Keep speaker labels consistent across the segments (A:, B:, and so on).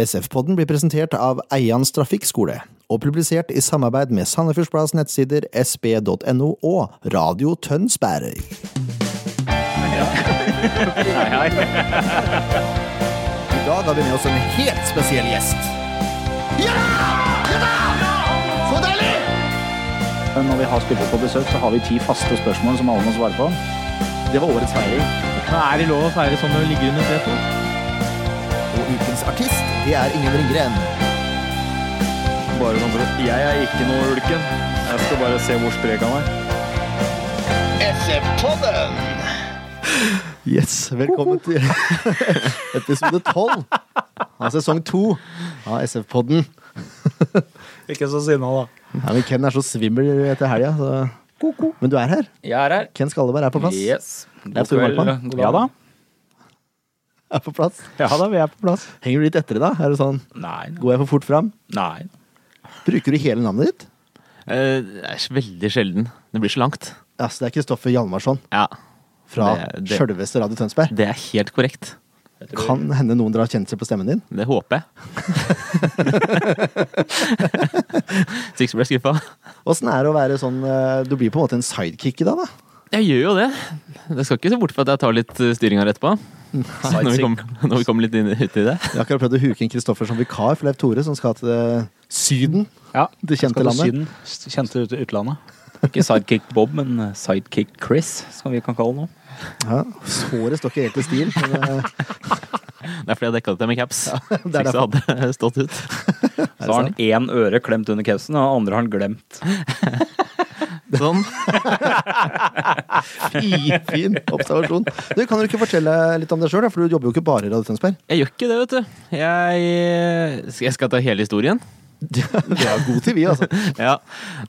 A: SF-podden blir presentert av Eians Trafikkskole og publisert i samarbeid med Sandefjords Blads nettsider sb.no og Radio Tønsberg. I dag har vi med oss en helt spesiell gjest.
B: Men Eh, når vi har spillere på besøk, så har vi ti faste spørsmål som alle må svare på. Det var årets feiring.
C: Men er det lov å feire sånn når du ligger under setet?
A: Og ukens artist, det er Ingen Ringgren.
D: Bare sånn for at jeg er ikke noe ulken. Jeg skal bare se hvor sprek han er.
A: Yes, velkommen til episode 12 av sesong 2 av SF-podden.
D: Ikke så sinna, da.
A: Ja, men Ken er så svimmel etter helga, så Men du er her.
D: Jeg er her.
A: Ken Skalleberg er på plass.
D: Yes.
A: Jeg tror det var på han.
D: god
B: Ja da.
A: Er på plass.
B: Ja da, vi er på plass.
A: Henger du litt etter i dag? Er det sånn,
D: Nei.
A: Går jeg for fort fram?
D: Nei.
A: Bruker du hele navnet ditt?
E: Eh, Det er veldig sjelden. Det blir så langt.
A: Ja, så det er Kristoffer Hjalmarsson
E: Ja,
A: fra
E: Det- det-
A: sjølveste Radio Tønsberg.
E: Det er helt korrekt.
A: Kan hende noen dere har kjent seg på stemmen din.
E: Det håper jeg. Så ikke blir jeg skuffa.
A: Åssen er det å være sånn eh, Du blir på en måte en sidekick i dag, da.
E: Jeg gjør jo det. Jeg skal ikke se bort fra at jeg tar litt eh, styringa rett på. Når vi kommer kom kommer litt inn, ut i det.
A: Jeg har akkurat prøvd å huke inn Kristoffer som vikar for Leif Tore, som skal til eh, Syden.
B: Ja,
A: Det kjente
B: skal til
A: landet.
B: Syden, s- kjente ut utlandet. Ikke sidekick Bob, men eh, sidekick Chris, som vi kan kalle ham nå.
A: Ja, Såret står ikke helt i stil. Men, eh,
E: Det er fordi jeg dekka det til med caps.
A: det er
E: Hvis ikke så hadde jeg stått ut.
B: Så har han én øre klemt under capsen, og andre har han glemt.
E: Sånn.
A: Fin, fin observasjon. Du, Kan du ikke fortelle litt om deg sjøl, for du jobber jo ikke bare i Radio Tønsberg.
E: Jeg gjør ikke det, vet du. Jeg, jeg skal ta hele historien.
A: Det er god til vi, altså.
E: Ja.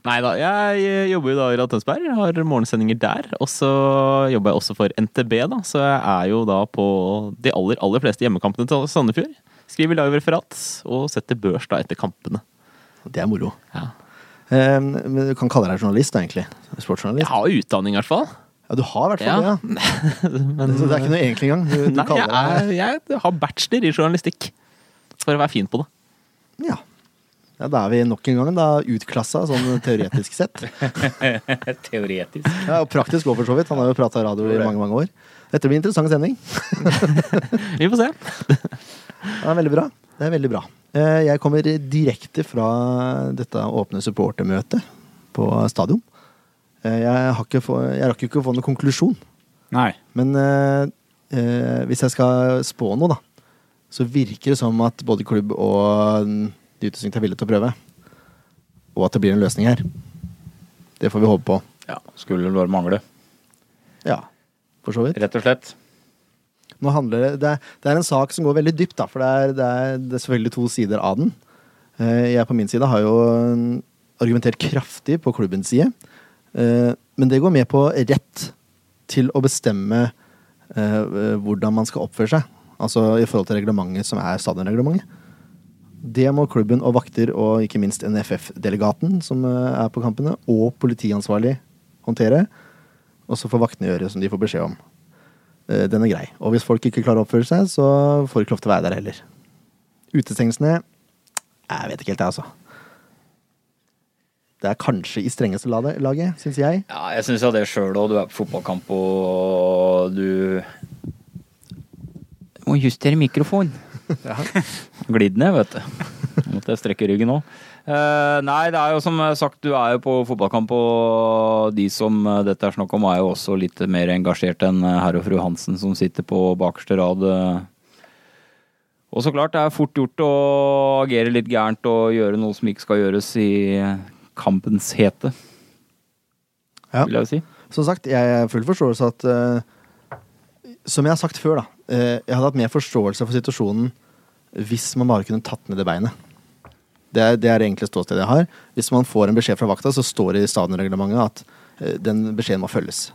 E: Nei da, jeg eh, jobber jo da i Radio Tønsberg, har morgensendinger der. Og så jobber jeg også for NTB, da, så jeg er jo da på de aller, aller fleste hjemmekampene til Sandefjord. Skriver live-referat og setter børs da etter kampene.
A: Det er moro.
E: Ja.
A: Eh, men du kan kalle deg journalist, da, egentlig.
E: Jeg
A: Sportsjournalist.
E: har jo utdanning, i hvert fall.
A: Ja, du har i hvert fall
E: Ja.
A: det, ja.
E: Men
A: Så det er ikke noe egentlig engang. Du, du
E: nei, jeg,
A: kaller deg
E: er, jeg har bachelor i journalistikk. For å være fin på det.
A: ja. ja, da er vi nok en gang da utklassa, sånn teoretisk sett.
B: Teoretisk.
A: Ja, og praktisk òg, for så vidt. Han har jo prata radio i mange, mange år. Dette blir en interessant sending.
E: Vi får se.
A: Det er veldig bra. Det er veldig bra. Eh, Jeg kommer direkte fra dette åpne supportermøtet på stadion. Eh, Jeg, har ikke få, jeg rakk jo ikke å få noen konklusjon,
B: Nei.
A: men eh, eh, hvis jeg skal spå noe, da, så virker det som at både klubb og mm, de utestengte er villige til å prøve. Og at det blir en løsning her. Det får vi håpe på.
B: Ja, skulle vel bare mangle.
A: Ja, for så vidt.
B: Rett og slett.
A: Nå handler det, det, er, det er en sak som går veldig dypt, da, for det er, det er, det er selvfølgelig to sider av den. Eh, Jeg på min side har jo eh, argumentert kraftig på klubbens side, eh, men det går med på rett til å bestemme eh, hvordan man skal oppføre seg. Altså i forhold til reglementet som er stadionreglementet. Det må klubben og vakter, og ikke minst NFF-delegaten som eh, er på kampene, og politiansvarlig håndtere. Og så får vaktene gjøre som de får beskjed om. Eh, Den er grei. Og hvis folk ikke klarer å oppføre seg, så får de ikke lov til å være der heller. Utestengelsene Jeg vet ikke helt, jeg, altså. Det er kanskje i strengeste lade- laget, syns jeg.
B: Ja, jeg syns jo det sjøl òg. Du er på fotballkamp og du Må justere mikrofonen. Glidd ned, vet du. Nå Måtte jeg strekke ryggen òg. nei, det er jo som sagt, du er jo på fotballkamp, og de som eh, dette er snakk om, er jo også litt mer engasjert enn eh, herr og fru Hansen som sitter på bakerste rad. eh, og så klart, det er fort gjort å agere litt gærent og gjøre noe som ikke skal gjøres i kampens hete,
A: Ja.
B: vil jeg jo si.
A: Som sagt, jeg er full forståelse at eh, Som jeg har sagt før, da. eh, jeg hadde hatt mer forståelse for situasjonen hvis man bare kunne tatt ned det beinet. Det er det, er det enkle ståstedet jeg har. Hvis man får en beskjed fra vakta, så står det i stadionreglementet at eh, den beskjeden må følges.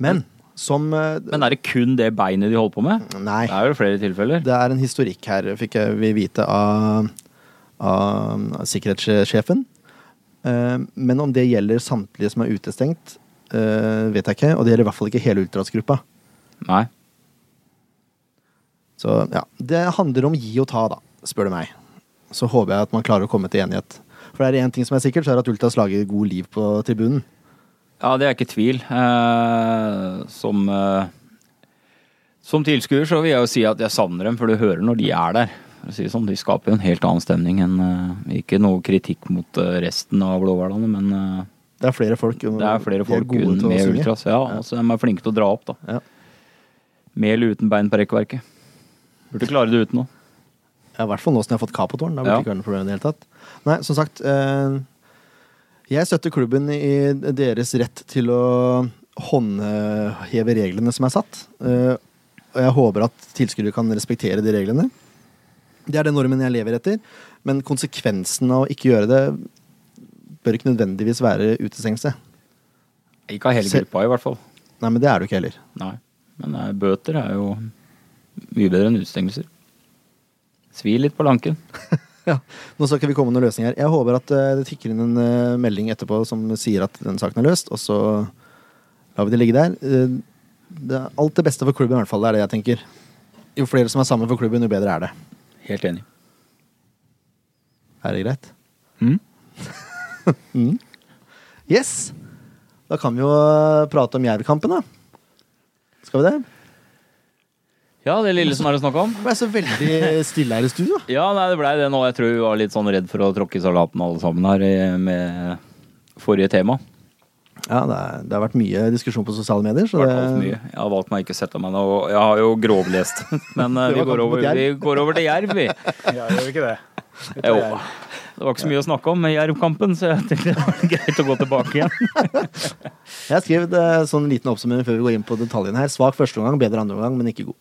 A: Men som eh,
B: Men er det kun det beinet de holder på med?
A: Nei.
B: Det er jo flere tilfeller.
A: Det er en historikk her, fikk jeg- vi vite av, av sikkerhetssjefen. Eh, Men om det gjelder samtlige som er utestengt, eh, vet jeg ikke. Og det gjelder i hvert fall ikke hele ultrasgruppa.
B: Nei.
A: Så ja, det handler om gi og ta, da. spør du meg. Så håper jeg at man klarer å komme til enighet. For er det én ting som er sikkert, så er det at Ultas lager god liv på tribunen.
B: Ja, det er ikke tvil. Eh, som eh, som tilskuer så vil jeg jo si at jeg savner dem, for du hører når de er der. For å Si det sånn, de skaper jo en helt annen stemning enn eh, Ikke noe kritikk mot eh, resten av Blåhvalene, men eh,
A: Det er flere folk. og
B: det er
A: de
B: flere folk
A: gode
B: un-
A: til å
B: med
A: synge.
B: ultras. Ja, altså, de er flinke til å dra opp, da.
A: Ja.
B: Med eller uten bein på rekkverket. Burde klare det uten noe.
A: Ja, I hvert fall nå som jeg har fått Capotårn. Da burde
B: Ja.
A: det ikke være noe problem i det hele tatt. Nei, som sagt, eh, jeg støtter klubben i deres rett til å håndheve reglene som er satt. Eh, og jeg håper at tilskuere kan respektere de reglene. Det er den normen jeg lever etter, men konsekvensen av å ikke gjøre det bør ikke nødvendigvis være utestengelse.
B: Ikke av hele
A: Se-
B: gruppa, i hvert fall.
A: Nei, men det er det jo ikke heller.
B: Nei. Men eh, bøter er jo mye bedre enn utestengelser. Svir litt på lanken.
A: Ja. Nå skal ikke vi komme med noen løsning her. Jeg håper at eh, det tikker inn en eh, melding etterpå som sier at den saken er løst, og så lar vi det ligge der. Eh, det er alt det beste for klubben, i hvert fall. Det er det jeg tenker. Jo flere som er sammen for klubben, jo bedre er det.
B: Helt enig.
A: Er det greit?
E: Mm.
A: Mm. Yes! Da kan vi jo eh, prate om Jerv-kampen, da. Skal vi det?
B: Ja, det lille som er å snakke om.
A: Det ble så veldig stille her i studio.
B: Ja, nei, det blei det nå. Jeg tror vi var litt sånn redd for å tråkke i salaten alle sammen her eh, med forrige tema.
A: Ja, det, er, det har vært mye diskusjon på sosiale medier. Så
B: Det
A: det,
B: har vært altfor mye. Jeg har valgt meg ikke å sette meg ned, og jeg har jo grovlest. Men eh,
A: Det var
B: vi går,
A: kampen mot
B: over,
A: Jerv.
B: vi går over til Jerv, vi.
F: Ja, gjør vi ikke det?
B: Jo. Det var ikke så mye å snakke om med Jerv-kampen, så jeg tenkte det var greit å gå tilbake igjen.
A: Jeg har skrevet eh, sånn liten oppsummering før vi går inn på detaljene her. Svak første omgang, bedre andre omgang, men ikke god.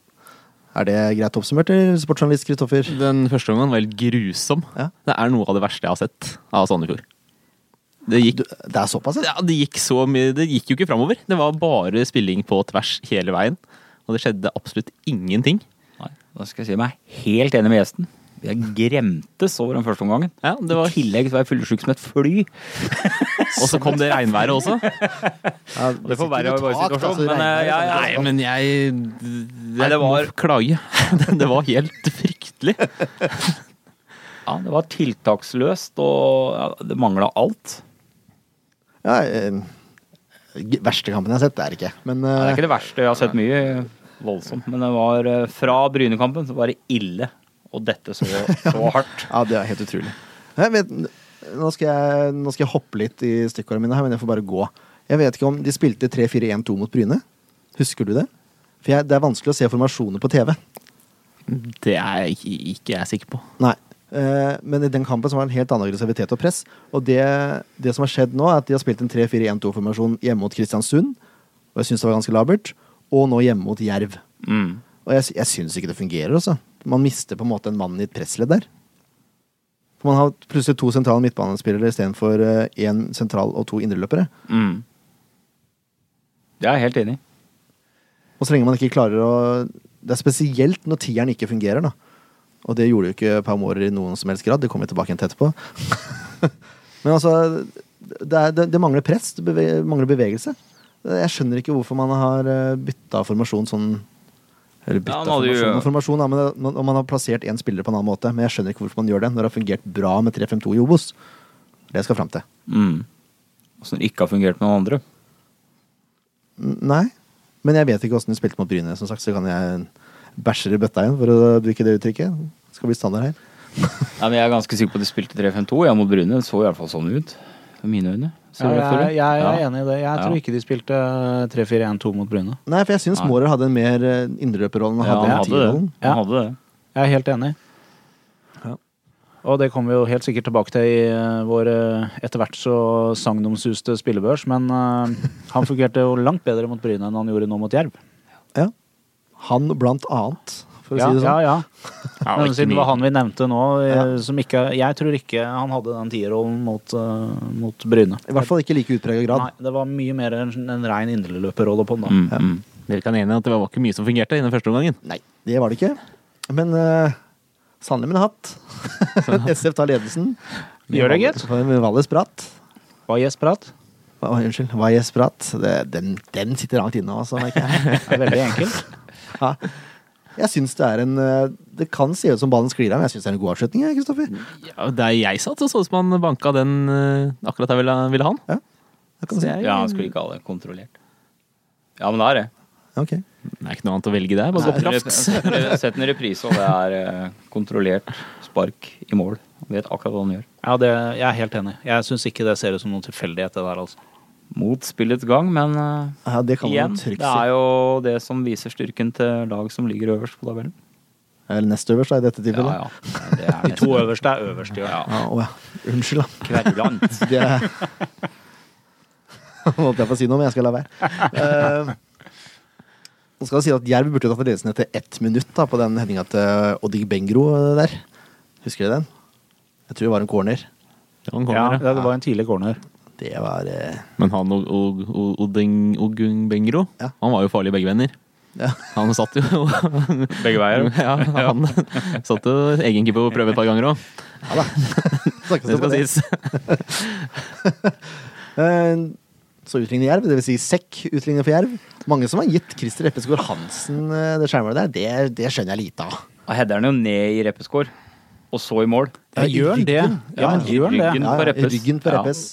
A: Er det greit oppsummert, eller, sportsjournalist Kristoffer?
E: Den første gangen var helt grusom.
A: Ja.
E: Det er noe av det verste jeg har sett av Sandefjord. Det gikk,
A: Du, det er såpass, ja?
E: ja, det gikk så mye Det gikk jo ikke framover. Det var bare spilling på tvers hele veien. Og det skjedde absolutt ingenting.
B: Nei, da skal jeg si meg helt enig med gjesten. Jeg gremtes over den første omgangen.
E: Ja, det var,
B: I tillegg så var jeg fyllesyk som et fly.
E: og så kom det regnværet også.
A: ja
B: Det forverrer jo vår situasjon,
A: altså,
B: men, eh, jeg-
E: Nei, men jeg
B: Nei, det var-
E: må Klage. Det var helt fryktelig.
B: Ja, det var tiltaksløst, og ja, det mangla alt.
A: ja, eh, g- Verste kampen jeg har sett, det er det ikke. Men
B: Nei, det er
A: eh,
B: ikke det verste. Jeg har sett mye voldsomt. Men det var eh, fra Brynekampen så var det ille. Og dette så, så hardt.
A: ja, det er helt utrolig. Jeg vet, nå, skal jeg, nå skal jeg hoppe litt i stikkordene mine her, men jeg får bare gå. Jeg vet ikke om de spilte 3-4-1-2 mot Bryne. Husker du det? For jeg, det er vanskelig å se formasjoner på TV.
E: Det er ikke, ikke jeg sikker på.
A: Nei. Eh, Men i den kampen så var det en helt annen aggressivitet og press. Og det, det som har skjedd nå, er at de har spilt en 3-4-1-2-formasjon hjemme mot Kristiansund. Og jeg syns det var ganske labert. Og nå hjemme mot Jerv. Og jeg, sy- jeg syns ikke det fungerer, altså. Man mister på en måte en mann i et pressledd der. For man har plutselig to sentrale midtbanespillere istedenfor eh, én sentral og to indreløpere.
B: Det er Mm. jeg helt enig i.
A: Og så lenge man ikke klarer å Det er spesielt når tieren ikke fungerer, da. Og det gjorde jo ikke Paumorer i noen som helst grad. Det kommer vi tilbake igjen til etterpå. Men altså det, er, det, det mangler press. Det beve, mangler bevegelse. Jeg skjønner ikke hvorfor man har bytta formasjon sånn Eller bytta
B: Ja, man hadde jo-
A: formasjon og formasjon, da, men det- man- og man har plassert én spiller på en annen måte. Men jeg skjønner ikke hvorfor man gjør det når det har fungert bra med 3-5-2 i Obos. Det skal jeg fram til.
B: Mm. Åssen det ikke har fungert med noen andre.
A: N- Nei. Men jeg vet ikke åssen de spilte mot Bryne, som sagt, så kan jeg bæsjer i bøtta igjen, for å bruke det uttrykket. Det skal bli standard her.
B: Nei, men jeg er ganske sikker på at de spilte 3-5-2. Jeg mot Bryne det så i hvert fall sånn ut. For mine øyne. Ser
F: Ja,
B: du det,
F: jeg,
B: Tore?
F: jeg er
B: Ja.
F: enig i det. Jeg tror
B: Ja.
F: ikke de spilte eh, 3-4-1-2 mot Bryne.
A: Nei, for jeg syns Mårer hadde en mer eh, indreløperrolle enn han
B: Ja,
A: hadde
B: han
A: i
B: hadde det.
A: tierrollen.
F: Ja.
B: Han hadde det.
F: Jeg er helt enig.
A: Ja.
F: Og det kommer vi jo helt sikkert tilbake til i eh, vår eh, etter hvert så sagnomsuste spillebørs, men eh, han fungerte jo langt bedre mot Bryne enn han gjorde nå mot Jerv.
A: Ja. Han blant annet, for å
F: Ja,
A: si det
F: ja,
A: sånn.
F: ja.
E: Ja,
F: Men siden det var han vi nevnte nå, eh,
A: Ja.
F: som ikke Jeg tror ikke han hadde den tierrollen mot, eh, mot Bryne.
A: I hvert fall ikke like utprega grad.
F: Nei, det var mye mer en, en rein indreløperrolle på den da.
B: Mm, mm.
E: Dere kan enige at det var ikke mye som fungerte i den første omgangen.
A: Nei. Det var det ikke. Men uh, sannelig med en hatt. SF tar ledelsen.
F: Gjør det, gitt.
A: Med Valles prat.
F: Var Jesper Pratt?
A: Hva- Unnskyld, Valles prat. Det, den, den sitter langt inne, altså. merker jeg.
F: Det er Veldig enkelt.
A: Ja. Jeg syns det er en eh, Det kan se ut som ballen sklir av, men jeg syns det er en god avslutning, jeg, Kristoffer.
E: Ja, der jeg satt, så så ut som han banka den eh, akkurat jeg ville, ville ha den.
A: Det kan du si.
E: jeg,
B: Ja, han skulle ikke ha det kontrollert. Ja, men det er det.
A: Ok.
E: Det er ikke noe annet å velge der. Bare gå på rafs.
B: Sett en reprise, og det er eh, kontrollert spark i mål. Han Vet akkurat hva han gjør.
F: Ja, det, jeg er helt enig. Jeg syns ikke det ser ut som noen tilfeldighet, det der, altså.
B: Mot spillets gang, men eh,
A: Ja, det kan
B: igjen,
A: man trygt
B: det
A: si.
B: er jo det som viser styrken til lag som ligger øverst på tabellen.
A: Eller nest øverst, da, i dette
B: Ja,
A: tilfellet.
B: ja. Det er
F: De to øverste er øverst i år.
A: Ja, å ja. Unnskyld, da.
B: kverulant.
A: Det er Holdt jeg på å si noe, men jeg skal la være. Eh, Nå skal det si at Jerv burde jo tatt ledelsen etter ett minutt da, på den headinga til Odig Bengro eh, der. Husker dere den? Jeg tror det var en corner.
E: Ja, han
F: Ja,
E: kommer, ja.
F: det var en tidlig corner.
A: Det var eh,
E: Men han og, og, og Odeng Ogung Bengro,
A: Ja.
E: han var jo farlig begge venner.
A: Ja.
E: Han satt jo
B: Begge veier.
F: Mm.
E: Ja, han satt jo egen keeper på prøve et par ganger òg.
A: Ja da. Snakkes
E: Det
A: om
E: skal
A: det.
E: sies.
A: Eh, Så utligner Jerv, dvs. Si Sekk utligner for Jerv. Mange som har gitt Christer Eppesgaard Hansen eh, det skjermmålet der, det, det skjønner jeg lite av.
B: Og header den jo ned i reppeskår, og så i mål.
A: Ja, i
F: gjør han det?
A: ryggen.
F: Ja,
B: Ja, i
F: gjør han det?
B: ryggen.
A: Ja,
B: på
A: ja,
B: Reppes.
A: ryggen på
B: Ja.
A: Reppes.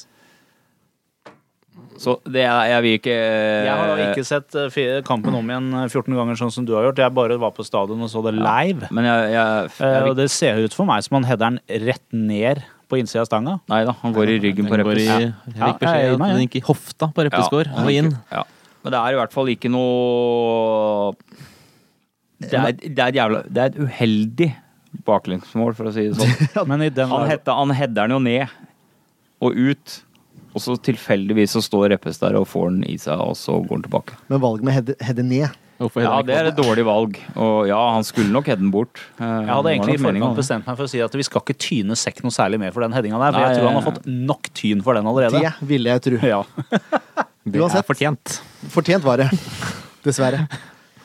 B: Så det er, jeg vil ikke
F: Jeg har da ikke sett eh, fi- kampen om igjen eh, 14 ganger, sånn som du har gjort. Jeg bare var på stadion og så det live.
B: Men jeg, jeg,
F: Eh,
B: jeg,
F: Og det ser ut for meg som han header den rett ned på innsida av stanga.
B: Nei da, han går i ryggen på
E: Den går i-
B: Reppes.
E: Jeg fikk beskjed
F: Ja,
E: om at
F: ja.
E: den gikk i hofta på Reppeskår og inn.
B: Ja. Men det er i hvert fall ikke noe Det er, det er, et jævla, det er et uheldig baklengsmål, for å si det sånn.
F: Men i den
B: Han, hetta, han header den jo ned og ut, og så tilfeldigvis så står Reppes der og får den i seg, og så går han tilbake.
A: Men valget med heade, heade ned
E: Hvorfor heter
B: Ja,
E: den
B: det er et dårlig valg. Og ja, han skulle nok heade den bort. Eh,
F: Jeg hadde egentlig i forkant bestemt meg for å si at vi skal ikke tyne Sekk noe særlig mer for den headinga der, for
B: Nei,
F: jeg tror han har
B: ja, ja.
F: fått nok tyn for den allerede.
A: Det ville jeg tro.
F: Ja.
E: ikke- Det
A: Uansett.
E: er fortjent.
A: Fortjent var det. Dessverre.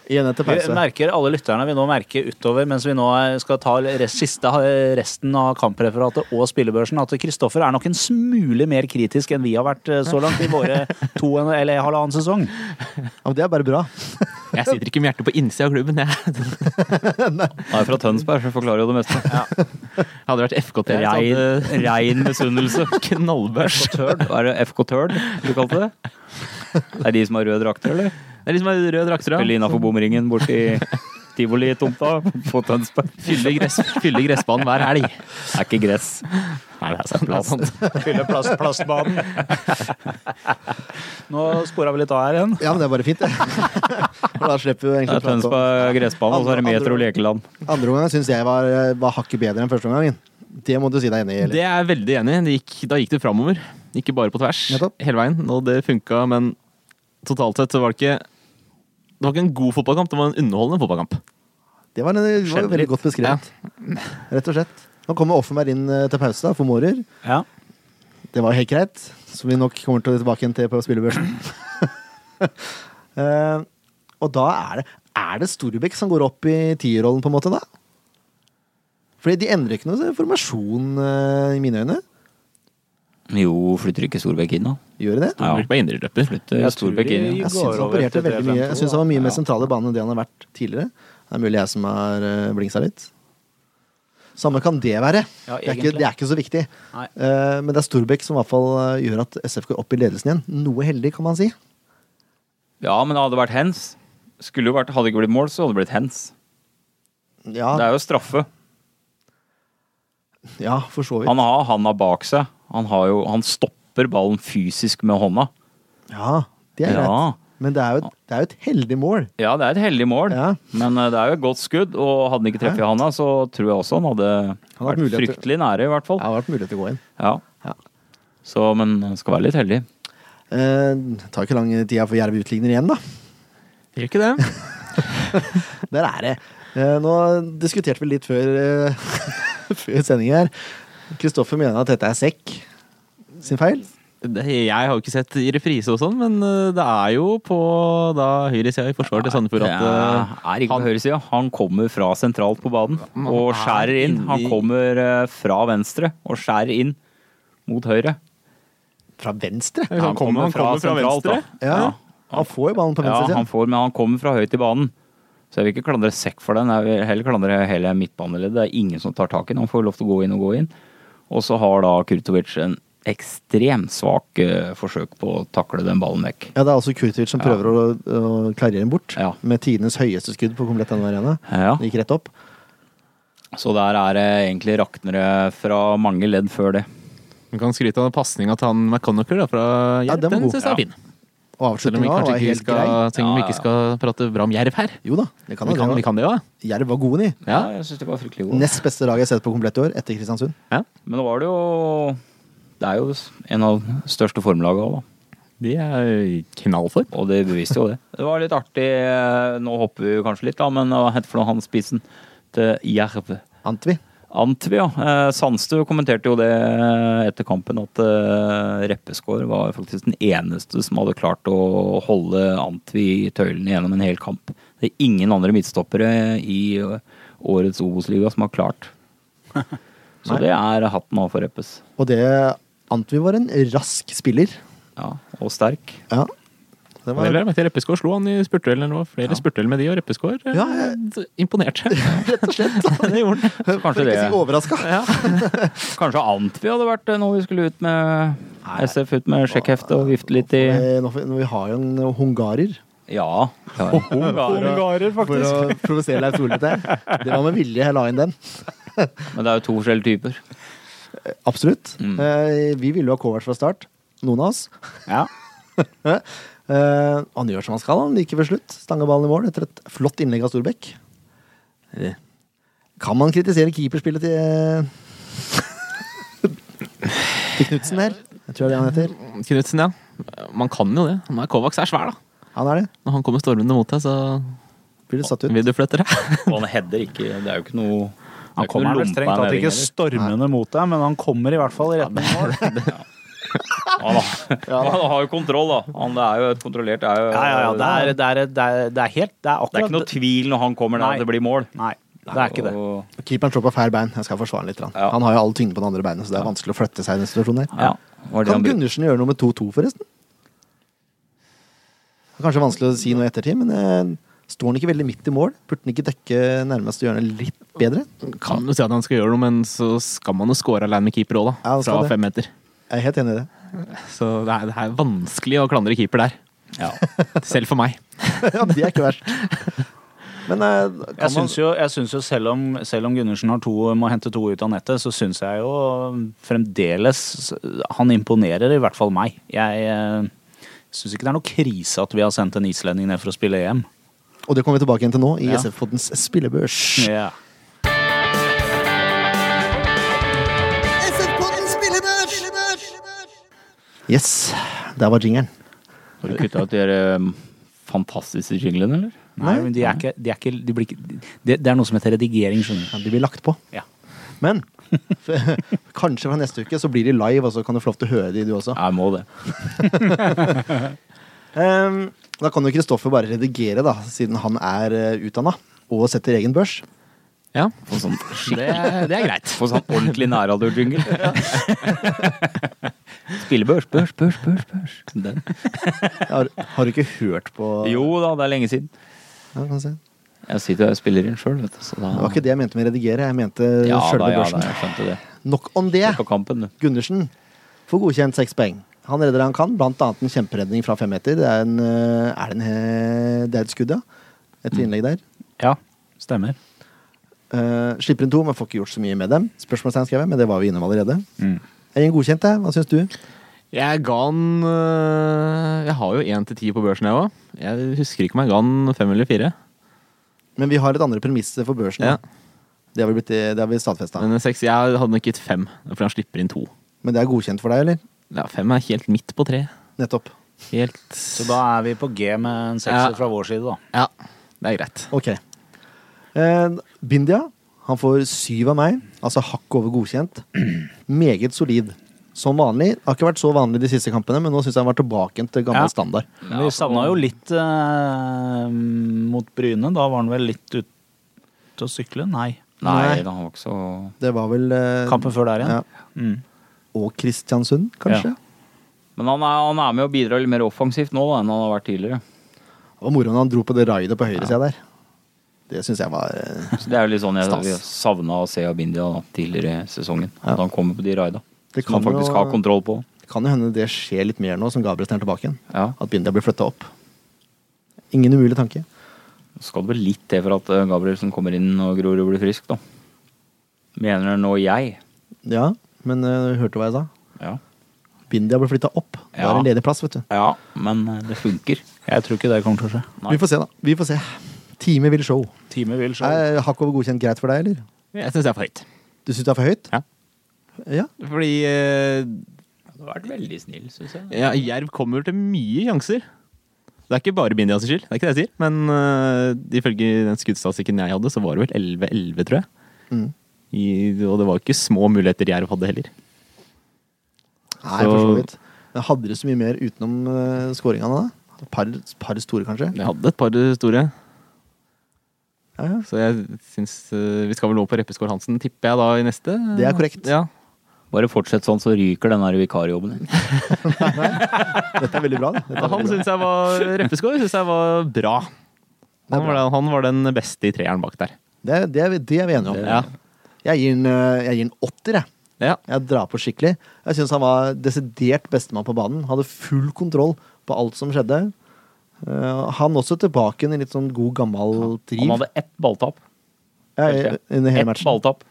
A: Igjen etter
F: Vi
A: pause.
F: merker alle lytterne vi nå merker utover, mens vi nå skal ta rest- siste, eh, resten av kampreferatet og spillebørsen, at Kristoffer er nok en smule mer kritisk enn vi har vært eh, så langt i våre to eller halvannen sesong.
A: Ja, men det er bare bra.
E: Jeg sitter ikke med hjertet på innsida av klubben. Jeg
B: Han er fra Tønsberg, så forklarer jo det meste.
E: hadde vært FKT. så hadde-
B: Rein, rein misunnelse.
E: Knallbørs.
B: Tørd. Hva er det FK Tørd du kalte det? Det er de som har røde drakter, eller?
E: Det er liksom en rød drakt, tror
B: Spille
E: jeg.
B: innafor bomringen borti tivolitomta på Tønsberg.
E: Fylle, gress, fylle gressbanen hver helg.
B: Det er ikke gress.
E: Nei, det er sant. Det er sant.
F: Fylle plast, plastbanen. Nå spora vi litt av her igjen.
A: Ja, men det er bare fint, det. For da slipper vi
B: Det
A: egentlig
B: er
A: å prate om
B: Tønsberg gressbane, og så er det Metro lekeland.
A: Andre omgang syns jeg var, eh, var hakket bedre enn første omgangen. Det må du si deg enig i. Eli.
E: Det er jeg veldig enig i. Det gikk- Da gikk det framover. Ikke bare på tvers
A: Nettopp.
E: hele veien. Og det funka, men totalt sett så var det ikke Det var ikke en god fotballkamp, det var en underholdende fotballkamp.
A: Det var, en, det var veldig godt beskrevet. Rett og slett. Nå kommer Offenberg inn eh, til pause da, for Mårer.
F: Ja.
A: Det var helt greit, som vi nok kommer til å tilbake igjen til på spillebørsen. Eh, og da er det Er det Storbekk som går opp i tierrollen, på en måte, da? Fordi de endrer ikke noe formasjon, eh, i mine øyne.
B: Jo, flytter ikke Storbekk inn, da?
A: Gjør de det?
E: Ja. Bare indreløper.
B: Flytter
F: Jeg tror
B: Storbekk inn.
F: de-
A: Jeg
B: ja.
A: syns han
F: går over
A: opererte
F: til
A: veldig mye.
F: 3-5-2,
A: Jeg synes han var mye
F: da.
A: mer sentral i banen enn det han har vært tidligere. Det er mulig jeg som har eh, blingsa litt. Samme kan det være. det,
F: Ja,
A: er ikke,
F: egentlig.
A: det er ikke så viktig.
F: Nei.
A: Eh, men det er Storbekk som i hvert fall eh, gjør at SF går opp i ledelsen igjen. Noe heldig, kan man si.
B: Ja, men det hadde vært hands. Skulle jo vært, hadde det ikke blitt mål, så hadde det blitt hands.
A: Ja,
B: Det er jo straffe.
A: ja for så vidt.
B: Han har handa bak seg. Han, har jo, han stopper ballen fysisk med hånda.
A: Ja, det er
B: Ja.
A: greit. Men det er jo et, det er jo et heldig mål.
B: Ja, det er et heldig mål,
A: Ja.
B: men eh, det er jo et godt skudd. Og hadde han ikke treffet handa, så tror jeg også han hadde
A: hadde
B: vært
A: mulighet til-
B: fryktelig nære, i hvert fall.
A: Det har vært mulighet til å gå inn.
B: Ja.
A: Ja.
B: Så, men han skal være litt heldig.
A: Eh, det tar ikke lang tid for Jerv utligner igjen, da.
E: Gjør ikke det.
A: Der er det. Eh, Nå diskuterte vi litt før, eh, før sending her. Kristoffer mener at dette er sekk sin feil.
E: Det- Jeg har jo ikke sett i reprise og sånn, men eh, det er jo på da høyresida i forsvaret til Sandefjord at eh,
B: Ja, er ikke på høyresida. Han kommer fra sentralt på banen og skjærer inn. Han
E: inni-
B: kommer eh, fra venstre og skjærer inn mot høyre.
A: Fra venstre?
E: Han kommer- han kommer fra
B: sentralt,
E: venstre?
B: da.
A: Ja. Han får jo ballen på
B: Ja,
A: venstre
B: han får, men han kommer fra høyt i banen. Så jeg vil ikke klandre Sekk for den, jeg vil heller klandre hele midtbaneleddet. Det er ingen som tar tak i den, han får lov til å gå inn og gå inn. Og så har da Kurtovic en ekstremt svak eh, forsøk på å takle den ballen vekk.
A: Ja, det er altså Kurtovic som prøver å, å klarere den bort,
B: Ja.
A: med tidenes høyeste skudd på komplett denne arena.
B: Ja.
A: Den gikk rett opp.
B: Så der er det egentlig raknere fra mange ledd før det.
E: Vi kan skryte av pasninga til han McConaughey da, fra Jerv.
A: Ja, den
E: den
A: var god.
E: synes jeg er fin.
A: Og
E: Selv om vi
A: avslutninga
E: kanskje
A: var
E: ikke
A: helt
E: skal,
A: grei.
E: selv om vi
B: Ja, ja.
E: ikke skal prate bra om Jerv her.
A: Jo da, det kan
E: vi, kan, vi
A: det.
E: kan det jo. da.
A: Jerv var gode, de.
E: Ja.
B: jeg syns det var fryktelig godt.
A: Nest beste lag jeg har sett på komplett i år, etter Kristiansund.
B: Men nå var det jo Det er jo en av de største formlagene òg, da.
E: De er knallform.
B: Og det beviste jo det. Det var litt artig eh, Nå hopper vi kanskje litt, da, men eh, hva het for noe han spissen til Jerv?
A: Antvi.
B: Antvi, ja. Eh, Sandstø kommenterte jo det etter kampen, at eh, Reppeskår var faktisk den eneste som hadde klart å holde Antvi i tøylene gjennom en hel kamp. Det er ingen andre midtstoppere i eh, årets Obos-liga som har klart. Så det er hatten av for Reppes.
A: Og det Antvi var en rask spiller.
B: Ja, og sterk.
A: Ja. Det var
E: Var... Eller, vet jeg, Reppeskår slo han i spurtduellen. eller Det var flere spurtdueller med de, og Reppeskår eh,
A: Ja,
E: imponerte. Rett og slett. det gjorde han.
B: Så kanskje
A: For
B: det
A: ikke å si overraska.
B: Kanskje Antvi hadde vært eh, når vi skulle ut med SF ut med sjekkhefte og vifte litt i
A: Eh, Nå, får- nå- vi har jo en eh, hungarer.
B: Ja. Hungarer.
A: For å provosere Leif Solli der. Det var med vilje jeg la inn den.
B: Men det er jo to forskjellige typer.
A: Absolutt.
B: Mm.
A: Eh, vi ville jo ha Kovac fra start. Noen av oss.
F: Ja.
A: Eh, han gjør som han skal, han like ved slutt. Stanger ballen i mål etter et flott innlegg av Storbekk. Eh, Kan man kritisere keeperspillet til eh, Til Knutsen her? Jeg tror det er det han heter.
E: Knutsen, ja. Man kan jo det. Nå er Kovacs er svær, da.
A: Han er det.
E: Når han kommer stormende mot deg, så
A: Blir det satt ut.
E: vil du flytte deg.
B: Og han header ikke. Det er jo ikke noe det er
F: Han
B: ikke noe
F: kommer vel
B: lompe
F: strengt tatt
B: her
F: ikke
B: heller.
F: stormende mot deg, men han kommer i hvert fall i retning mål.
B: Han har- Han har jo kontroll, da. Han det er jo et kontrollert det er jo,
F: Ja, ja, ja. Det er, det er, det er, det er helt
B: Det
F: Det er
B: er
F: akkurat
B: ikke noe tvil når han kommer der
F: Nei.
B: at det blir mål.
F: Nei, det er ikke det.
B: Og-
A: Keeperen står på feil bein. Jeg skal forsvare han litt. grann.
B: Ja.
A: Han har jo all tyngden på det andre beinet, så det er vanskelig å flytte seg i den situasjonen her.
B: Ja. Var det
A: Kan
B: han brukte?
A: Gundersen gjøre noe med 2-2, forresten? Det er kanskje vanskelig å si noe i ettertid, men eh, står han ikke veldig midt i mål? Burde han ikke dekke nærmeste hjørne litt bedre?
E: Kan jo si at han skal gjøre noe, men så skal man jo score alene med keeper òg, da.
A: Ja, han skal
E: Fra
A: det.
E: fem meter.
A: Jeg er helt enig i det.
E: Så det er, det er vanskelig å klandre keeper der.
B: Ja.
E: Selv for meg.
A: ja, det er ikke verst. Men eh,
F: Jeg
A: kan man
F: syns jo, jeg syns jo selv, om, selv om Gundersen har to, må hente to ut av nettet, så syns jeg jo fremdeles Han imponerer i hvert fall meg. Jeg eh, syns ikke det er noe krise at vi har sendt en islending ned for å spille EM.
A: Og det kommer vi tilbake igjen til nå, i
F: Ja.
A: SF-poddens spillebørs.
F: Ja.
A: Yes, der var jingeren.
B: Har du kutta ut de der, eh, fantastiske jinglene, eller?
F: Nei, men de er ikke, de er ikke, de blir ikke det, det er noe som heter redigering, skjønner
A: Ja, de blir lagt på.
F: du. Ja.
A: Men kanskje fra neste uke så blir de live, og så kan du få lov til å høre de, du også.
B: Jeg må det.
A: Ehm, da kan jo Kristoffer bare redigere, da, siden han er uh, utdanna og setter egen børs.
E: Ja,
B: Få sånn
E: det, det er greit.
B: Få sånn ordentlig nærradio-jingle. Spillebørs, børs, børs, børs. børs. Den.
A: Har, har du ikke hørt på
B: Jo da, det er lenge siden.
A: Ja, kan du se.
B: Jeg sitter og spiller inn sjøl, vet du. Så da...
A: Det var ikke det jeg mente med redigere, jeg mente
B: ja,
A: sjølve
B: da, ja,
A: børsen.
B: da, jeg skjønte det.
A: Nok om det.
B: Se på kampen, du.
A: Gundersen får godkjent seks poeng. Han redder det han kan, blant annet en kjemperedning fra fem meter. Det er, en, eh, er det en eh, Det er et skudd, ja. Etter innlegg der.
F: ja, stemmer.
A: Eh, slipper inn to, men får ikke gjort så mye med dem. Spørsmålstegn skrev jeg, men det var vi innom allerede.
B: Mm.
A: Jeg gir en godkjent, jeg. Hva syns du?
E: Jeg ga han øh, Jeg har jo én til ti på børsen, jeg òg. Jeg husker ikke om jeg ga han fem eller fire.
A: Men vi har et andre premisser for børsen.
E: Ja.
A: da. Det har vi, blitt- det har vi stadfesta.
E: Men seks, jeg hadde nok gitt fem, fordi han slipper inn to.
A: Men det er godkjent for deg, eller?
E: Ja, fem er helt midt på tre.
A: Nettopp.
E: Helt
F: Så da er vi på G med en sekser
E: Ja.
F: fra vår side, da.
E: Ja, det er greit.
A: Ok. Eh, Bindia, han får syv av meg, altså hakk over godkjent. Meget solid. Som vanlig. Har ikke vært så vanlig de siste kampene, men nå syns jeg han var tilbake til gammel
F: Ja.
A: standard.
F: Men vi savna jo litt eh, mot Bryne. Da var han vel litt ute å sykle? Nei.
B: Nei, da, han var ikke så
A: Det var vel eh,
F: Kampen før der igjen?
A: ja.
F: Mm.
A: Og Kristiansund, kanskje.
B: Men han er, han er med og bidrar litt mer offensivt nå da, enn han har vært tidligere.
A: Det var moro når han dro på det raidet på høyresida der. Det syns jeg var eh,
B: Så det er jo litt sånn jeg
A: Stas.
B: savna å se Abindia da, tidligere i sesongen.
A: Ja.
B: At han kommer på de raida.
A: Det
B: Som han
A: kan jo-
B: faktisk har kontroll på.
A: Kan jo hende det skjer litt mer nå som Gabrielsen er tilbake igjen.
B: Ja.
A: At Bindia blir flytta opp. Ingen umulig tanke.
B: Så skal det vel litt til for at eh, Gabrielsen kommer inn og Grorud blir frisk, da. Mener nå jeg.
A: Ja, men eh, hørte du hva jeg sa?
B: Ja.
A: Bindia ble flytta opp. Det
B: Ja.
A: er en ledig plass, vet du.
B: ja men eh, det funker.
F: Jeg tror ikke det kommer til å skje.
B: Nei.
A: Vi får se, da. Vi får se. Time vil show.
F: Time vil show.
A: Er hakk over godkjent greit for deg, eller?
E: Jeg syns det er for høyt.
A: Du syns det er for høyt?
E: Ja.
A: Ja.
E: Fordi eh,
B: Du har vært veldig snill, syns jeg.
E: Ja, Jerv kommer til mye sjanser. Det er ikke bare Bindias skyld, det er ikke det jeg sier. Men øh, ifølge den skuddstatistikken jeg hadde, så var det vel 11-11, tror jeg.
A: Mm.
E: I, og det var ikke små muligheter Jerv hadde heller.
A: Nei, for så vidt. Men hadde dere så mye mer utenom uh, skåringene, da? Et Par, par store, kanskje?
E: Jeg hadde et par store,
A: Ja, ja.
E: så jeg syns øh, Vi skal vel over på Reppeskår Hansen, tipper jeg da, i neste.
A: Det er korrekt.
E: Ja.
B: Bare fortsett sånn, så ryker den her vikarjobben din.
A: Dette er veldig bra. det. Dette er veldig
E: Han
A: bra.
E: syns jeg var Reppeskår syns jeg var bra.
A: er
E: Han var, den, han var den beste i treeren bak der.
A: Det, det, er vi- det er vi enige om.
E: Ja.
A: Jeg gir den, eh, jeg gir den åtter, jeg.
E: Ja.
A: Jeg drar på skikkelig. Jeg syns han var desidert bestemann på banen. Hadde full kontroll på alt som skjedde. Eh, han også tilbake igjen i litt sånn god, gammel driv.
B: Han hadde ett balltap.
A: Ja, i- under hele
B: Ett
A: matchen.
B: balltap.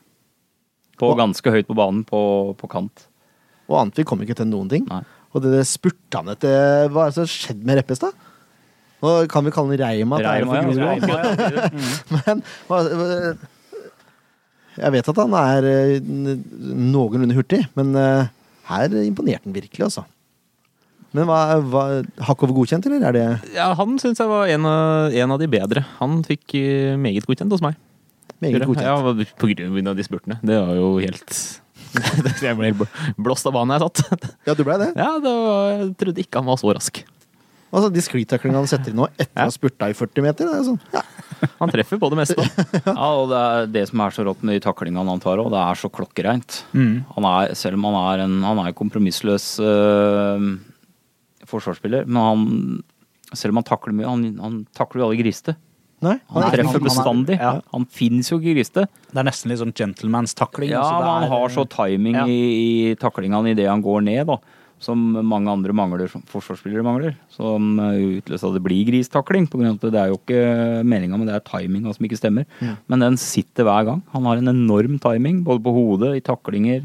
B: På
A: Og-
B: ganske høyt på banen, på, på kant.
A: Og Antvik kom ikke til noen ting.
B: Nei.
A: Og det, det spurte han etter Hva er det som skjedde med Reppes, da? Nå kan vi kalle han Reima. til ære for
B: Reima, ja.
A: Grorud. Men hva, hva- Jeg vet at han er eh, n- noenlunde hurtig, men eh, her imponerte han virkelig, altså. Men hva, hva Hakk over godkjent, eller? Er det
E: Ja, han syns jeg var en av, en av de bedre. Han fikk øh, meget godkjent hos meg.
A: meget
E: Gjorde det?
A: godkjent?
E: Ja, på grunn av de spurtene. Det var jo helt Jeg ble helt bl- blåst av banen jeg satt.
A: Ja, du blei det?
E: Ja, det var, Jeg trodde ikke han var så rask.
A: Altså, De sklittaklingene han setter inn nå etter å ha spurta i 40 meter, det er sånn ja,
E: Han treffer på det meste.
B: Ja, og det, er det som er så rått med de taklingene han tar òg, det er så klokkereint.
F: Mm.
B: Han er, selv om han er en han er en kompromissløs øh, forsvarsspiller, men han selv om han takler mye, han, han takler jo alle griste.
A: Nei.
B: Han
A: han er-
B: treffer
F: han- han er-
B: bestandig.
F: ja.
B: Han finnes jo ikke i griste.
F: Det er nesten litt sånn gentleman's-takling.
B: Ja,
F: altså, det
B: men han
F: er-
B: har så timing
F: Ja.
B: i, i taklingene idet han går ned, da. Som mange andre mangler, som forsvarsspillere mangler. Som eh, utløser at det blir gristakling. På grunn av at det er jo ikke meninga, men det er timinga som ikke stemmer. Men den sitter hver gang. Han har en enorm timing, både på hodet, i taklinger,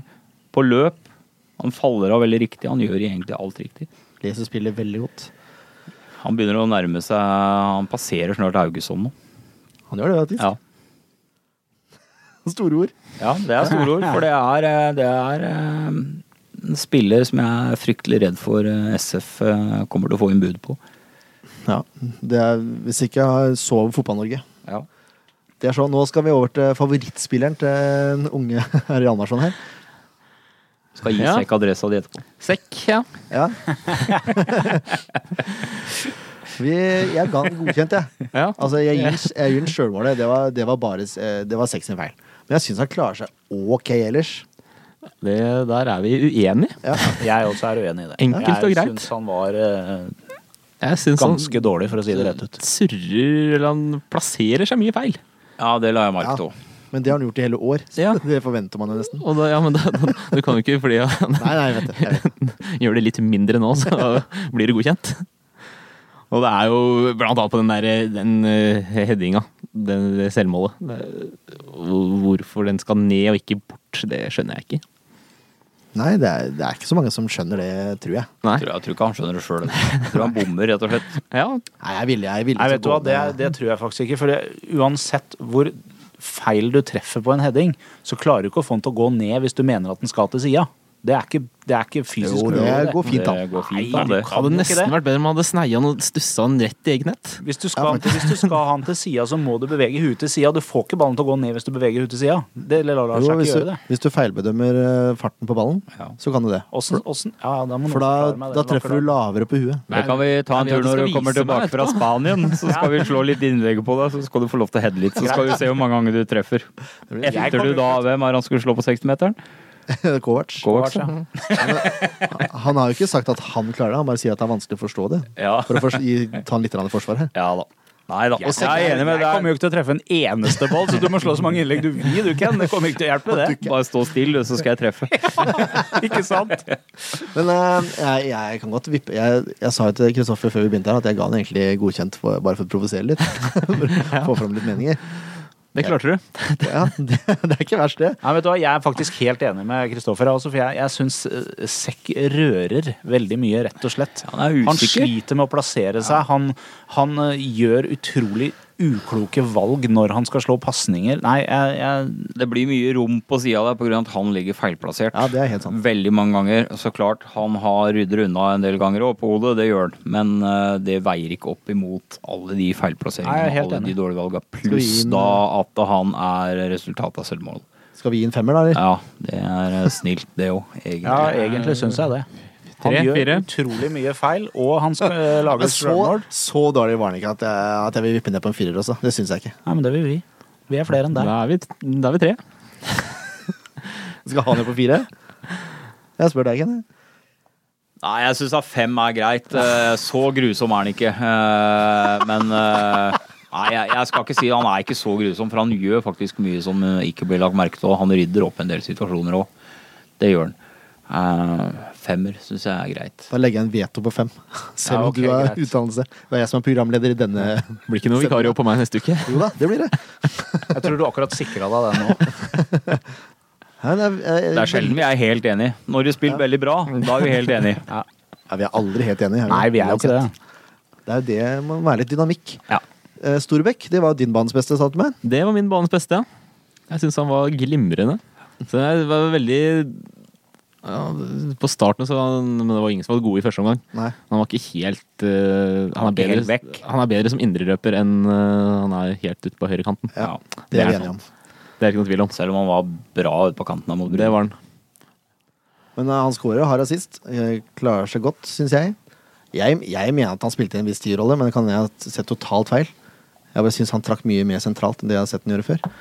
B: på løp. Han faller av veldig riktig. Han gjør egentlig alt riktig.
A: leser spillet veldig godt.
B: Han begynner å nærme seg Han passerer snart Augusson nå.
A: Han gjør det, vet du.
B: Ja.
A: Store ord.
B: Ja, det er store ord, for det er, eh, det er eh, en spiller som jeg er fryktelig redd for eh, SF eh, kommer til å få inn bud på.
A: Ja, det er, Hvis ikke jeg sover Fotball-Norge.
B: Ja.
A: Det er sånn, Nå skal vi over til favorittspilleren til den unge herr Hjalmarsson her.
B: Skal gi
E: Ja.
B: sekk adressa di etterpå.
E: Sekk, ja.
A: Ja. Vi, jeg ga den godkjent, jeg.
E: ja.
A: Altså, jeg gir den- jeg gir den sjølmålet. Det var, det var bare eh, Det var seks sin feil. Men jeg syns han klarer seg ok ellers.
E: Det, der er vi uenige.
A: Ja.
F: Jeg også er uenig i det.
E: Enkelt og
F: jeg
E: greit.
F: syns han var eh,
E: Jeg syns han
F: ganske dårlig, for å si det rett ut.
E: surrer eller Han plasserer seg mye feil.
B: Ja, det la jeg
A: Ja.
B: merke til òg.
A: Men det har han gjort i hele år. Så
E: Ja.
A: Det forventer man jo nesten.
E: Og da, ja, men da, da, du kan jo ikke fordi han
A: Nei, nei, vet du. Jeg vet.
E: gjør det litt mindre nå, så blir det godkjent. Og det er jo blant annet på den der den eh, headinga, det det selvmålet. Det- hvor- Hvorfor den skal ned og ikke bort, det skjønner jeg ikke.
A: Nei det, er, det er ikke så mange som skjønner det, tror jeg.
E: Nei.
B: Tror jeg, jeg tror ikke han skjønner det sjøl. Tror han bommer, rett og slett.
E: Ja,
A: Nei, jeg er villig, jeg er villig
F: Nei,
A: til
F: vet du
A: å
F: hva,
A: gå
F: det,
A: med-
F: det tror jeg faktisk ikke. For det, uansett hvor feil du treffer på en heading, så klarer du ikke å få den til å gå ned hvis du mener at den skal til sida. Det er ikke, det er ikke fysisk
A: Jo, det
F: mulig, det.
A: går fint, da.
B: Det går fint,
F: Nei,
B: da. Det.
E: det hadde
F: jo ikke
E: nesten
F: det.
E: vært bedre om man hadde sneia den og stussa den rett i eget nett.
F: Hvis du, skal, hvis du skal ha den til sida, så må du bevege huet til sida. Du får ikke ballen til å gå ned hvis du beveger huet til sida. Det lar lar
A: Jo,
F: seg
A: hvis,
F: ikke
A: du,
F: gjøre, det.
A: hvis du feilbedømmer eh, farten på ballen,
B: Ja.
A: så kan du det.
F: Åssen- åssen- ja, da må noen
A: For da,
F: forklare meg det.
A: da
F: Det var
A: treffer du
F: klart.
A: lavere på huet.
B: Det kan vi ta en
E: Nei,
B: tur
E: du
B: når
E: skal
B: du kommer
E: vise meg
B: tilbake fra Spanien. Så skal vi slå litt innlegg på deg, så skal du få lov til å heade litt. Så skal vi se hvor mange ganger du treffer. Etter du da Hvem er han skulle slå på 60-meteren?
A: Kovac.
B: Kovac, ja.
A: Han har jo ikke sagt at han klarer det, han bare sier at det er vanskelig å forstå det.
B: Ja.
A: For å forst- gi, ta han litt grann i forsvar her.
B: Ja da. Nei da. Jeg er enig med
F: Jeg
B: deg.
F: kommer jo ikke til å treffe en eneste ball, så du må slå så mange innlegg du vil, du, Ken. Det kommer ikke til å hjelpe, det.
B: Bare stå stille, så skal jeg treffe.
F: Ikke sant?
A: Men eh, jeg, jeg kan godt vippe Jeg, jeg sa jo til Kristoffer før vi begynte her at jeg ga han egentlig godkjent for, bare for å provosere litt. for å få fram litt meninger.
E: Det klarte du.
A: Ja, det, det er ikke verst, det.
F: Nei, vet du hva, Jeg er faktisk helt enig med Kristoffer. her Også, for jeg, jeg syns eh, Sekk rører veldig mye, rett og slett.
B: Han er
F: Han
B: usikker.
F: sliter med å plassere seg. Han, han eh, gjør utrolig ukloke valg når han skal slå pasninger. Nei, jeg, jeg
B: Det blir mye rom på sida der pga. at han ligger feilplassert.
A: Ja, det er helt sant.
B: Veldig mange ganger. Så klart, han har rydder unna en del ganger òg, på hodet, det gjør han. Men eh, det veier ikke opp imot alle de
F: Nei, jeg er
B: feilplasseringene,
F: helt
B: alle de
F: enig.
B: dårlige valga.
A: Skal vi
B: Pluss
A: inn-
B: da at han er resultatet av selvmål.
A: Skal vi gi en femmer, da? eller?
B: Ja, det er eh, snilt, det òg, egentlig.
F: Ja, egentlig syns jeg det. Han
E: Tre,
F: gjør
E: fire.
F: utrolig mye feil, og han skal eh, lage
A: Men
F: et
A: så,
F: selvmål.
A: så dårlig var den ikke at jeg, at jeg vil vippe ned på en firer også. Det syns jeg ikke.
F: Nei, men det vil vi. Vi er flere enn deg.
E: Da er vi, da er vi tre.
A: Skal han ned på fire? Jeg spør deg, Ken. jeg.
B: Nei, jeg syns at fem er greit. Eh, Så grusom er han ikke. Eh, Men eh, Nei, jeg jeg skal ikke si han er ikke så grusom, for han gjør faktisk mye som eh, ikke blir lagt merke til. Og han rydder opp en del situasjoner òg. Det gjør han. Eh, Femmer syns jeg er greit.
A: Da legger jeg en veto på fem. Selv om
F: Ja, ok,
A: du har
F: greit.
A: utdannelse. Det er jeg som er programleder i denne.
E: Blir ikke noe vikarjobb på meg neste uke.
A: Jo da, det blir det.
F: Jeg tror du akkurat sikra deg det nå.
A: Ja, det, er,
B: Det er sjelden vi er helt enige. Når de spiller veldig bra, da er vi helt enige.
A: Ja, vi er aldri helt enige.
F: Nei, vi er jo ikke det.
A: Det er jo det må være litt dynamikk.
F: Ja.
A: Eh, Storbekk, det var jo din banens beste, sa du til meg.
E: Det var min banes beste. Jeg syns han var glimrende. Så jeg var veldig ja, På starten så var han, Men det var ingen som var gode i første omgang.
A: Nei.
E: Han var ikke helt eh, han, er
B: ikke helt
E: bedre,
B: vekk.
E: han er bedre som indreløper enn eh, han er helt ute på høyrekanten.
A: Ja,
E: det
A: det er
E: er
A: vi enige om.
E: Det er ikke noe tvil om.
B: Selv om han var bra ute på kanten av mot
E: Det
B: Brun.
E: var han.
A: Men eh, han scorer og har assist. Eh, Klarer seg godt, syns jeg. jeg. Jeg mener at han spilte en viss tierrolle, men det kan jeg ha sett totalt feil. Jeg bare syns han trakk mye mer sentralt enn det jeg har sett han gjøre før.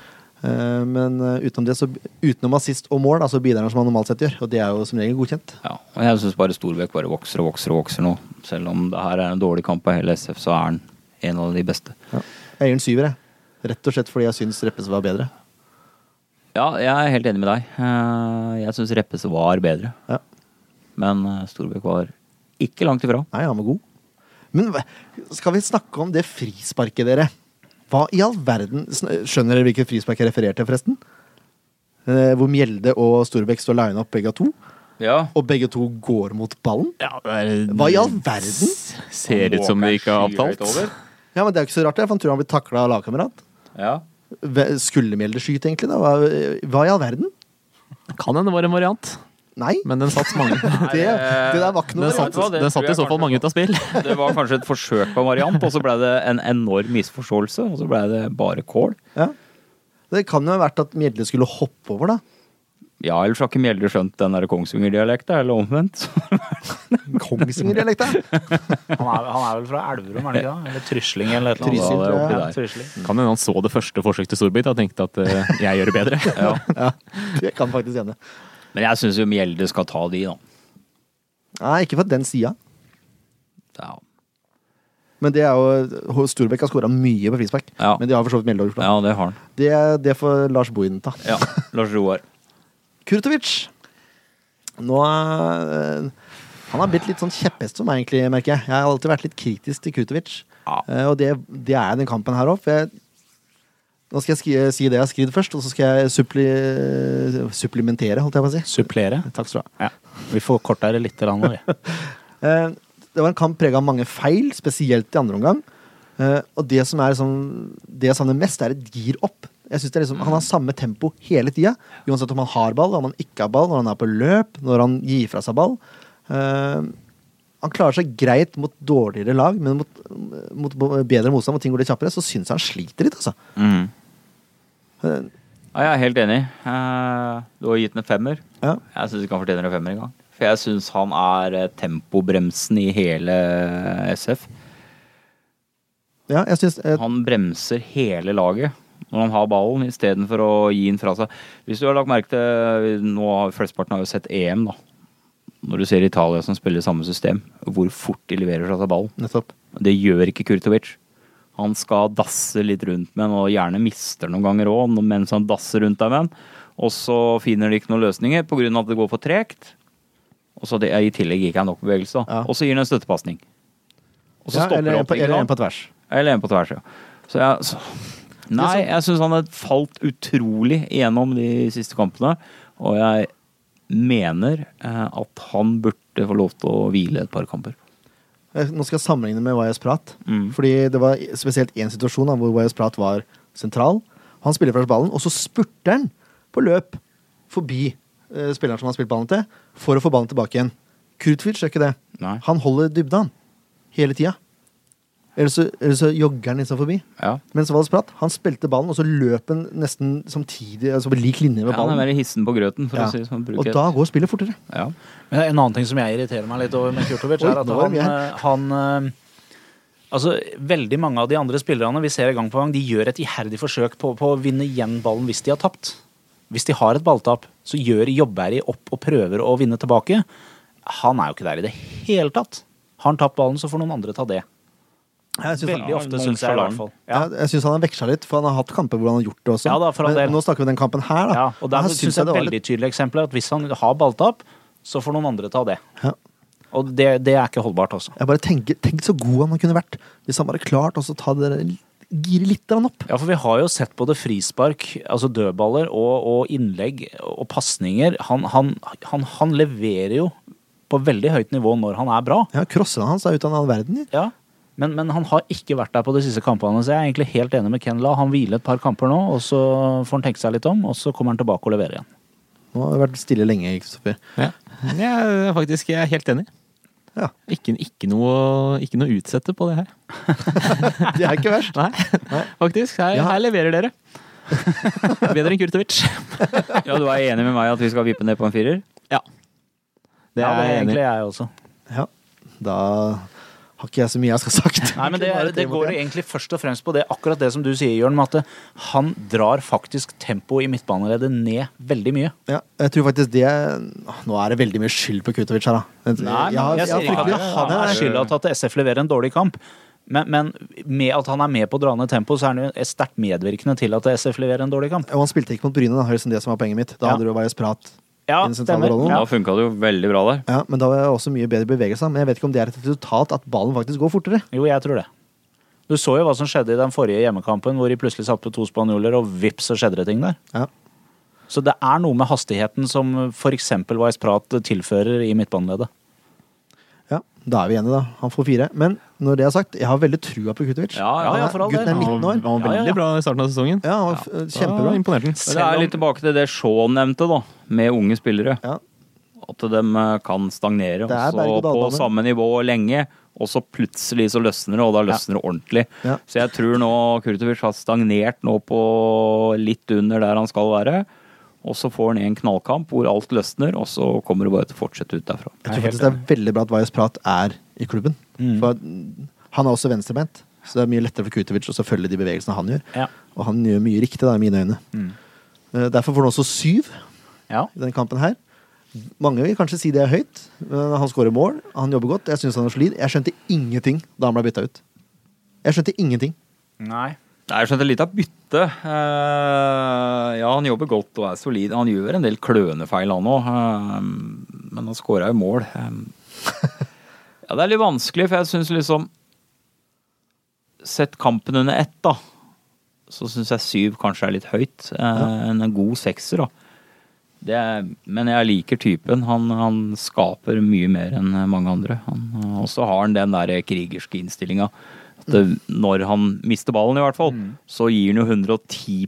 A: Eh, Men eh, utenom det, så utenom assist og mål, da, så bidrar han som han normalt sett gjør. Og det er jo som regel godkjent.
B: Ja, og jeg syns bare Storbekk bare vokser og vokser og vokser nå. Selv om det her er en dårlig kamp av hele SF, så er han en av de beste.
A: Jeg gir en syver, jeg. Rett og slett fordi jeg syns Reppes var bedre.
B: Ja, jeg er helt enig med deg. Eh, Jeg syns Reppes var bedre.
A: Ja.
B: Men eh, Storbekk var ikke langt ifra.
A: Nei, han var god. Men hva- skal vi snakke om det frisparket, dere? Hva i all verden sn- Skjønner dere hvilket frispark jeg refererer til, forresten? Eh, Hvor Mjelde og Storbekk står lina opp begge to,
B: Ja.
A: og begge to går mot ballen?
E: Ja, det er-
A: Hva i all verden?
E: Ser ut som de ikke har avtalt.
A: Ja, men Det er jo ikke så rart, det, for han tror han blir takla av lagkamerat.
B: Ja.
A: Ve- Skulle Mjelde skyte, egentlig? da? Hva, hva i all verden?
E: Kan hende det var en variant,
A: Nei,
E: men den satt mange
A: det, det der var ikke noe
E: Den
A: variant.
E: satt, den satt i så fall mange ut av spill.
B: Det var kanskje et forsøk på en variant, og så ble det en enorm misforståelse, og så ble det bare kål.
A: Ja. Det kan jo ha vært at Mjelde skulle hoppe over, da.
B: Ja, ellers har ikke Mjelde skjønt den der Kongsvinger-dialekta, eller omvendt.
A: Kongsvinger-dialekta.
F: Han er, han er vel fra Elverum, er han ikke det? Eller Trysling eller et
A: Trysil,
F: eller
A: tror jeg.
F: annet.
B: Ja,
F: Ja, Trysling.
E: Kan hende han så det første forsøket til Storbit og tenkte at eh, jeg gjør det bedre.
A: Jeg kan faktisk hende.
B: Men jeg syns jo Mjelde skal ta de, da.
A: Nei, ikke fra den sida.
B: Ja.
A: Men det er jo Storbekk har skåra mye på frispark.
B: Ja.
A: Men de har for så vidt Mjelde også gjort.
B: ja, det har han.
A: da. Det, det får Lars Bohinen ta.
B: Ja, Lars Roar.
A: Kurtovic. Nå er, Han har blitt litt sånn kjepphest for meg, egentlig, merker jeg. Jeg har alltid vært litt kritisk til Kurtovic.
B: Ja.
A: Eh, Og det, det er den kampen her òg. Nå skal jeg skri, si det jeg har skrevet først, og så skal jeg suppli, supplementere, holdt jeg på å si.
F: Supplere.
A: Takk skal du ha.
F: Vi får korta det litt nå, vi.
A: Eh, Det var en kamp prega av mange feil, spesielt i andre omgang. Eh, Og det som er sånn, det jeg savner mest, er et gir opp. Jeg synes det er liksom, Han har
B: Mm.
A: samme tempo hele tida, uansett om han har ball, om han ikke har ball, når han er på løp, når han gir fra seg ball. Eh, Han klarer seg greit mot dårligere lag, men mot, mot bedre motstand, hvor ting går litt kjappere, så syns jeg han sliter litt, altså. Eh,
B: Mm. Ja, jeg er helt enig. Eh, Du har gitt den en femmer.
A: Ja.
B: Jeg syns ikke han fortjener en femmer engang. For jeg syns han er eh, tempobremsen i hele eh, SF.
A: Ja, jeg synes, eh,
B: Han bremser hele laget når han har ballen, istedenfor å gi den fra seg. Hvis du har lagt merke til eh, nå har Flesteparten har jo sett EM, da. Når du ser Italia som spiller samme system, hvor fort de leverer fra seg ballen.
A: nettopp.
B: Det gjør ikke Kurtovic. han skal dasse litt rundt med den, og gjerne mister noen ganger òg mens han dasser rundt der med den. Og så finner de ikke noen løsninger pga. at det går for tregt. Og så det, I tillegg ikke er nok bevegelse. da.
A: Ja.
B: Og så gir han en støttepasning. Og så
A: Ja,
B: stopper
A: eller, en
B: opp.
A: på,
B: ikke
A: eller en
B: sant?
A: på tvers.
B: Eller en på tvers, ja. Så jeg, så, nei, jeg syns han har falt utrolig gjennom de siste kampene. Og jeg mener eh, at han burde få lov til å hvile et par kamper.
A: Jeg- Nå skal jeg sammenligne med Wajaz Prat.
B: Mm.
A: Fordi det var spesielt én situasjon da, hvor Wajaz Prat var sentral. Han spiller fra ballen, og så spurter han på løp forbi eh, spilleren som han har spilt ballen til, for å få ballen tilbake igjen. Krutwitz gjør ikke det.
B: Nei.
A: Han holder dybde, han. Hele tida. Eller så, eller så jogger han liksom forbi.
B: Ja.
A: Mens Wajaz Prat han spilte ballen, og så løp han nesten samtidig, altså på lik linje med
B: Ja, han er
A: ballen.
B: mer hissen på grøten, for
A: Ja.
B: å si det sånn. Bruke
A: Og
B: et-
A: da går spillet fortere.
B: ja.
F: Men En annen ting som jeg irriterer meg litt over med Kurtovic,
A: Oi,
F: er at
A: nå var
F: han,
A: det
F: eh, han eh, Altså, veldig mange av de andre spillerne vi ser i gang på gang, de gjør et iherdig forsøk på, på å vinne igjen ballen hvis de har tapt. Hvis de har et balltap, så gjør Jobberi opp og prøver å vinne tilbake. Han er jo ikke der i det hele tatt. Har han tapt ballen, så får noen andre ta det.
A: Jeg synes han-
F: Veldig ofte, syns jeg. i hvert fall.
A: Ja.
F: Ja.
A: Jeg syns han har veksla litt, for han har hatt kamper hvor han har gjort det også.
F: Ja da, for all
A: Men
F: del.
A: nå snakker vi den kampen her, da.
F: Ja, og der
A: Her
F: syns jeg
A: det
F: et
A: var
F: veldig tydelig eksempel er at hvis han har balltap, så får noen andre ta det.
A: Ja.
F: Og det, det er ikke holdbart, altså.
A: Jeg bare tenker, Tenk så god han kunne vært hvis han bare klart også ta det der, gire litt grann opp.
F: Ja, for vi har jo sett både frispark, altså dødballer, og, og innlegg og pasninger. Han, han, han, han leverer jo på veldig høyt nivå når han er bra.
A: Ja, Crossene hans er ute av en annen verden.
F: Ja. Men, men han har ikke vært der på de siste kampene, så jeg er egentlig helt enig med Ken La. Han hviler et par kamper nå, og så får han tenke seg litt om, og så kommer han tilbake og leverer igjen.
A: Nå har det vært stille lenge. Kristoffer.
E: Ja. Jeg er faktisk jeg er helt enig.
A: Ja.
E: Ikke, ikke, noe, ikke noe å utsette på det her.
A: Det er ikke verst.
E: Nei, faktisk. Her,
A: Ja.
E: her leverer dere. Bedre enn Kurtovic.
B: ja, du er enig med meg at vi skal vippe ned på en firer?
E: Det
F: ja,
E: er jeg enig i.
F: egentlig jeg også.
A: Ja, Da har ikke jeg så mye jeg skal ha sagt.
F: Nei, men det,
A: Bare
F: det
A: tre mot
F: går jo
A: en.
F: egentlig først og fremst på det, akkurat det som du sier, Jørn, med at han drar faktisk tempoet i midtbaneleddet ned veldig mye.
A: ja, Jeg tror faktisk det Nå er det veldig mye skyld på Kutovic her, da. Men
F: Nei, men jeg,
A: har-
F: sier
A: har
F: ikke at
A: fryktelig-
F: han er skylda til at SF leverer en dårlig kamp. Men, men med at han er med på å dra ned tempo, så er han jo sterkt medvirkende til at SF leverer en dårlig kamp.
A: Og han spilte ikke mot Bryne, da, høres det som var poenget mitt. Da
F: Ja.
A: hadde det jo vært prat.
F: Ja,
A: I den sentrale
F: stemmer.
A: rollen.
F: Ja.
B: Da funka det jo veldig bra der.
A: Ja, men da var det også mye bedre bevegelse. Men jeg vet ikke om det er et resultat at ballen faktisk går fortere.
F: Jo, jeg tror det. Du så jo hva som skjedde i den forrige hjemmekampen, hvor de plutselig satte på to spanjoler, og vips, så skjedde det ting der.
A: Ja.
F: Så det er noe med hastigheten som f.eks. Weiss Prat tilfører i midtbaneleddet.
A: Ja, Da er vi enige, da. Han får fire. Men når det er sagt, jeg har veldig trua på Kutovic.
B: Ja, ja,
F: ja, for all del.
A: Gutten er 19
E: Han var,
A: år.
E: han var
F: Ja, ja,
E: veldig
F: ja.
E: bra i starten av sesongen.
A: Ja, han var f-
E: Da
A: kjempebra.
E: Imponerte
B: Men
E: han.
B: det er jo litt tilbake til det Shaun nevnte, da, med unge spillere.
A: Ja.
B: At de eh, kan stagnere,
A: Det er
B: og så på
A: berg-og-dal-bane.
B: samme nivå lenge. Og så plutselig så løsner det, og da løsner det ordentlig.
A: Ja.
B: Så jeg tror nå Kurtovic har stagnert nå på litt under der han skal være. Og så får han en knallkamp hvor alt løsner, og så kommer det bare til å fortsette ut derfra.
A: Jeg tror faktisk det er veldig bra at Vajos Prat er i klubben. For mm, han er også venstrebeint, så det er mye lettere for Kutovic å følge de bevegelsene han gjør.
F: Ja. Mm.
A: Og han gjør mye riktig, da, i mine øyne. Eh, Derfor får han også syv
F: Ja.
A: i denne kampen her. Mange vil kanskje si det er høyt, men han skårer mål, han jobber godt. Jeg syns han er solid. Jeg skjønte ingenting da han ble bytta ut. Jeg skjønte ingenting.
F: Nei.
B: Nei, Jeg skjønte litt av bytte. Eh, ja, han jobber godt og er solid. Han gjør en del klønefeil, han òg. men han skåra jo mål. Eh, ja, det er litt vanskelig, for jeg syns liksom Sett kampen under ett, da. Så syns jeg syv kanskje er litt høyt. Eh, En god sekser, da. Det er, men jeg liker typen. Han, han skaper mye mer enn mange andre. Han- Og så har han den der krigerske innstillinga. At det, når han mister ballen, i hvert fall, så gir han jo 110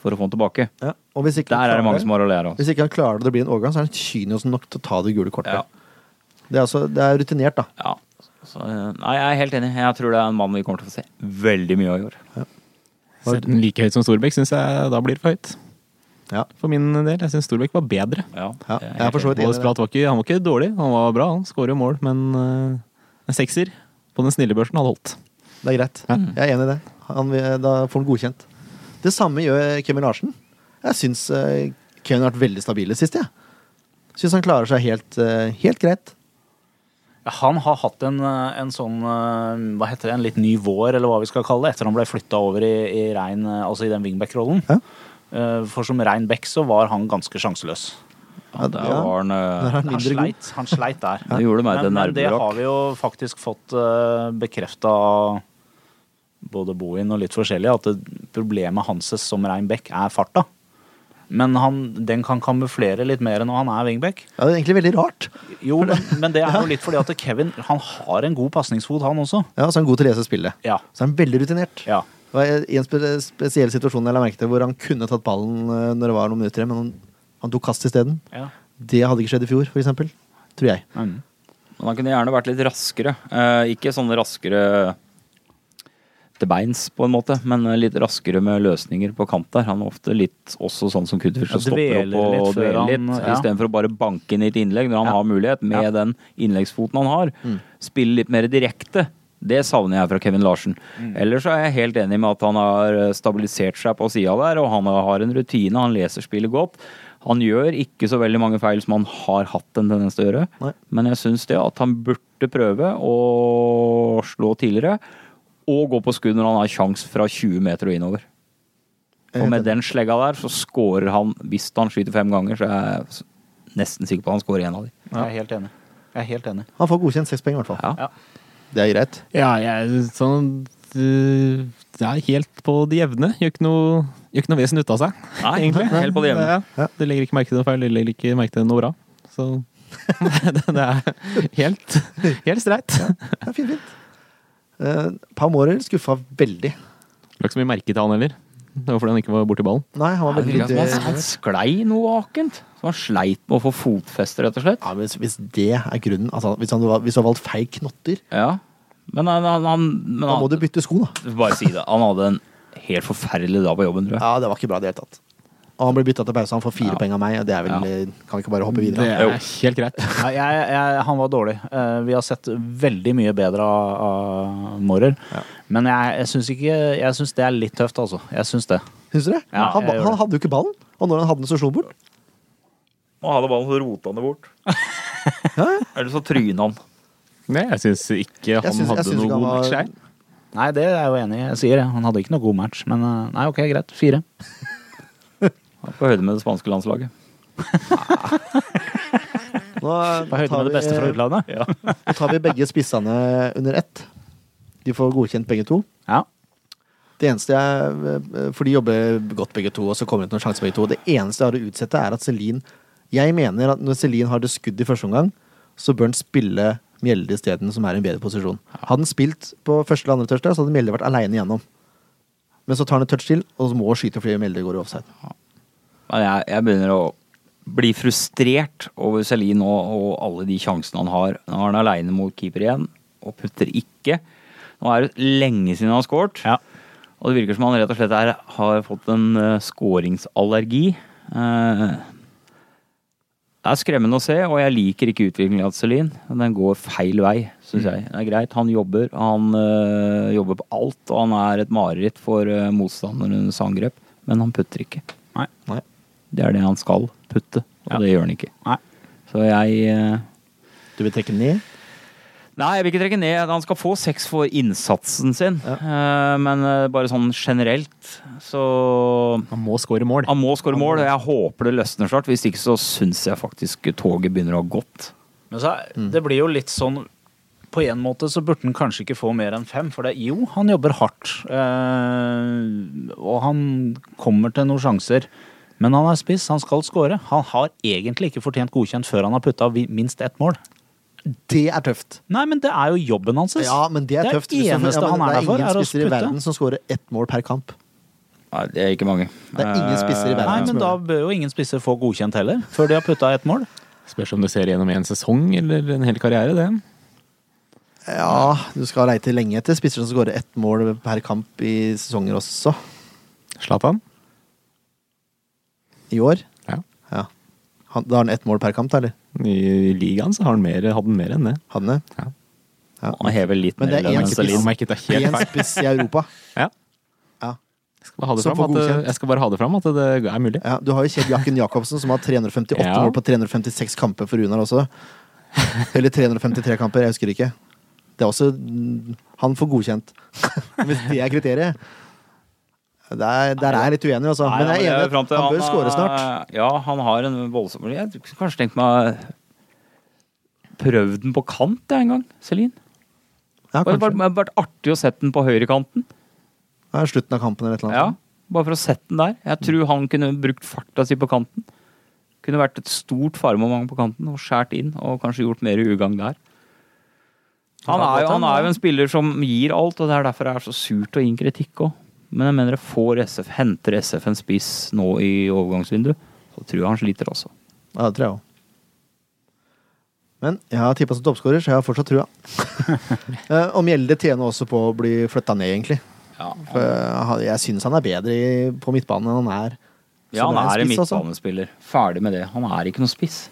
B: for å få den tilbake.
A: Og hvis ikke
B: Der er det mange som har å lære av.
A: Hvis ikke han klarer det og det blir en overgang, så er han kynisk nok til å ta det gule kortet.
B: Ja.
A: Det, er altså, det er rutinert, da.
B: Ja. Så, eh, nei, jeg er helt enig. Jeg tror det er en mann vi kommer til å få se veldig mye av i år.
E: Selv den like høyt som Storbekk syns jeg da blir det for høyt.
A: Ja.
E: For min del. Jeg syns Storbekk var bedre.
B: Ja,
A: Ja,
B: jeg er
A: jeg er for så vidt
E: Og
A: enig. i det.
E: Sprat var ikke, han var ikke dårlig, han var bra. Han skårer jo mål, men eh, en sekser på den snille børsen hadde holdt.
A: Det er greit. Jeg er enig i det. Han, vil- da får han godkjent. Det samme gjør Kevin Larsen. Jeg syns eh, Kevin har vært veldig stabil i det siste. Jeg syns han klarer seg helt, eh, helt greit.
F: Han har hatt en, eh, en sånn eh, hva heter det, en litt ny vår, eller hva vi skal kalle det, etter han ble flytta over i, i, rein, eh, altså i den wingback-rollen.
A: Ja.
F: Eh, For som rein back så var han ganske sjanseløs.
B: Ja, der
A: Ja.
B: var han
A: Der er
B: eh,
A: han
F: Han
A: mindre god.
F: sleit, han sleit der.
B: Det gjorde meg til
F: Men, men det
B: nerverak.
F: har vi jo faktisk fått uh, bekrefta både Bohin og litt forskjellig, at det, problemet hans som rein back er farta. Men han, den kan kamuflere litt mer når han er wingback.
A: Ja, det er egentlig veldig rart.
F: Jo, men, men det er jo litt fordi at Kevin han har en god pasningsfot, han også.
A: Ja, og så er han god til å lese spillet.
F: Ja.
A: Så er han veldig rutinert.
F: ja.
A: Det var en spe spesiell situasjon jeg la merke til, hvor han kunne tatt ballen eh, når det var noen minutter igjen, men han, han tok kast isteden.
F: ja.
A: Det hadde ikke skjedd i fjor, for eksempel. Tror jeg.
F: Mm.
B: Men han kunne gjerne vært litt raskere. Eh, ikke sånn raskere til beins, på en måte, men litt raskere med løsninger på kant der. Han er ofte litt også sånn som Kudfjord, som
F: Ja,
B: stopper
F: dveler
B: opp og,
F: litt før
B: dveler
F: han-
B: litt,
F: ja.
B: istedenfor å bare banke inn i et innlegg når han
F: Ja.
B: har mulighet, med
F: Ja. Mm.
B: den innleggsfoten han har. Spille litt mer direkte. Det savner jeg fra Kevin Larsen.
F: Mm.
B: Ellers er jeg helt enig med at han har eh, stabilisert seg på sida der, og han har en rutine, han leser spillet godt. Han gjør ikke så veldig mange feil som han har hatt en tendens til å gjøre.
A: Nei.
B: Men jeg syns det at han burde prøve å slå tidligere, og gå på skudd når han har sjans fra 20 meter og innover. Og med den slegga der, så scorer han Hvis han skyter fem ganger, så er jeg s- nesten sikker på at han scorer én av dem.
F: Jeg er helt enig. Jeg er helt enig.
A: Han får godkjent seks poeng, i hvert fall.
B: Ja.
A: Det er greit.
E: Ja, jeg sånn øh, Det er helt på det jevne. Gjør ikke noe, gjør ikke noe vesen ut av seg,
B: Nei, helt på det jevne.
E: Ja, ja. Du legger ikke merke til noe feil, du legger ikke merke til noe bra. Så det, det er helt, helt streit.
A: Det er fint, fint. Uh, Pau Mårer skuffa veldig.
E: Det var ikke så mye merke til han heller. Det var fordi han ikke var borti ballen.
A: Nei, han var
B: Det
A: veldig
B: virker som
A: lite
B: han, han sklei noe akent. Så han sleit med å få fotfeste, rett og slett.
A: ja, hvis, hvis det er grunnen altså, hvis, han, hvis du har valgt feil knotter,
B: Ja. Men han, han, han, men
A: da må
B: han
A: du bytte sko, da.
B: Bare si det. Han hadde en helt forferdelig dag på jobben, tror jeg.
A: Ja, det var ikke bra i det hele tatt. Og han ble bytta til pause. Han får fire poeng av meg. og Det er vel, eh, Kan vi ikke bare hoppe videre?
E: Det er helt greit.
F: Nei, jeg, jeg, han var dårlig. Eh, vi har sett veldig mye bedre av, av Mårer. Men jeg, jeg syns ikke Jeg syns det er litt tøft, altså. Jeg syns det.
A: Syns du det?
F: Ja,
A: han,
F: jeg gjør
A: han
F: det.
A: hadde jo ikke ballen, og når han hadde den, så slo han bort.
B: Og hadde ballen, så rota han det bort. Eller så tryna han.
E: Nei, jeg syns ikke han
A: Jeg syns- jeg
E: hadde
A: syns ikke han
E: noe god
A: var-
E: match der.
F: Nei, det er jeg jo enig i. Jeg sier det. Han hadde ikke noe god match, men eh, nei, ok, greit. Fire.
B: Han er På høyde med det spanske landslaget.
A: Nå
F: På høyde med det beste fra
A: vi,
F: utlandet. Ja.
A: nå tar vi begge spissene under ett. De får godkjent begge to.
F: ja.
A: Det eneste jeg, For de jobber godt begge to, og så kommer det til noen sjanser begge to. Det eneste jeg har å utsette, er at Celine Jeg mener at når Celine har det skudd i første omgang, så bør han spille Mjelde isteden, som er i en bedre posisjon. Hadde han spilt på første eller andre touch der, så hadde Mjelde vært aleine igjennom. Men så tar han et touch til, og så må han skyte fordi Mjelde går i offside.
B: Men jeg, jeg begynner å bli frustrert over Celine nå og alle de sjansene han har. Nå er han aleine mot keeper igjen, og putter ikke. Nå er det lenge siden han har scoret.
F: Ja.
B: Og det virker som han rett og slett er, har fått en eh, skåringsallergi. Eh, det er skremmende å se, og jeg liker ikke utviklingen av Celine. Den går feil vei, syns jeg. Det er greit, han jobber. Han eh, jobber på alt, og han er et mareritt for eh, motstanderens angrep. Men han putter ikke.
F: Nei.
A: Nei.
B: Det er det han skal putte, og det gjør han ikke.
F: Nei.
B: Så jeg eh,
A: Du vil trekke ned?
B: Nei, jeg vil ikke trekke ned. Han skal få seks for innsatsen sin,
A: Ja.
B: Eh, men eh, bare sånn generelt så
E: Han må score mål.
B: Han må skåre mål, og jeg håper det løsner snart. Hvis ikke så syns jeg faktisk toget begynner å ha gått.
F: Men så, er-
A: Mm.
F: det blir jo litt sånn På en måte så burde han kanskje ikke få mer enn fem, for det, jo, han jobber hardt. eh, og han kommer til noen sjanser. Men han er spiss, han skal score. Han har egentlig ikke fortjent godkjent før han har putta vi- minst ett mål.
A: Det er tøft.
F: Nei, men det er jo jobben hans.
A: Ja, men det er tøft.
F: Det
A: hvis du-
F: eneste
A: ja, men
F: han er der for,
A: Det er
F: er å
A: ingen spisser i
F: putte.
A: verden som scorer ett mål per kamp.
B: Nei, det er ikke mange.
A: Det er
E: Eh,
A: ingen spisser i verden.
F: Nei,
A: som
F: men
A: gjør
F: da
A: det.
F: bør jo ingen spisser få godkjent heller, før de har putta ett mål.
E: Spørs om du ser gjennom en sesong eller en hel karriere, det.
A: Ja, du skal leite lenge etter spisser som scorer ett mål per kamp i sesonger også.
E: Zlatan?
A: I år?
E: Ja.
A: Ja. Han, da har han ett mål per kamp, da, eller?
E: I ligaen så har han mer, hadde han mer enn det.
A: Hadde han det?
E: Ja.
A: Ja.
B: Han hever litt
A: Men det er
B: ned i
A: en
B: lønnen,
A: spiss.
B: Celine.
E: Han merket det helt
A: Én
E: feil.
A: spiss i Europa.
E: Ja.
A: Ja.
E: Jeg skal, bare ha det
A: Så
E: fram
A: få
E: at det,
A: godkjent.
E: jeg skal bare ha det fram at det er mulig.
A: Ja, du har jo Kjell Jakken Jacobsen, som har 358
E: Ja.
A: mål på 356 kamper for Runar også. Eller 353 kamper, jeg husker ikke. Det er også mm, Han får godkjent. Hvis det er kriteriet. Der, der er jeg litt uenig, altså. Men jeg er enig. i
B: fram
A: at
B: eh, til
A: Han eh, bør
B: er-
A: score snart.
B: Ja, han har en voldsom Jeg kunne kanskje tenkt meg Prøv den på kant jeg, en gang, Celine.
A: Ja,
B: Det hadde
A: kanskje.
B: vært- vært artig å sette den på høyrekanten.
A: Ja, slutten av kampen eller et eller
B: Ja,
A: annet.
B: bare for å sette den der. Jeg tror han kunne brukt farta si på kanten. Kunne vært et stort faremoment på kanten og skåret inn og kanskje gjort mer ugagn der. Han er, jo, han er jo en spiller som gir alt, og det er derfor det er så surt å gi en kritikk òg. Men jeg mener det får SF, henter SF en spiss nå i overgangsvinduet, så tror jeg han sliter også.
A: Ja, det tror jeg òg. Men jeg har tippa som toppskårer, så jeg har fortsatt trua. Eh, Og Mjelde tjener også på å bli flytta ned, egentlig.
B: Ja,
A: For han- jeg syns han er bedre i- på midtbanen enn han er som
B: han er en
A: spiss, altså.
B: midtbanespiller. Ferdig med det. Han er ikke noen spiss.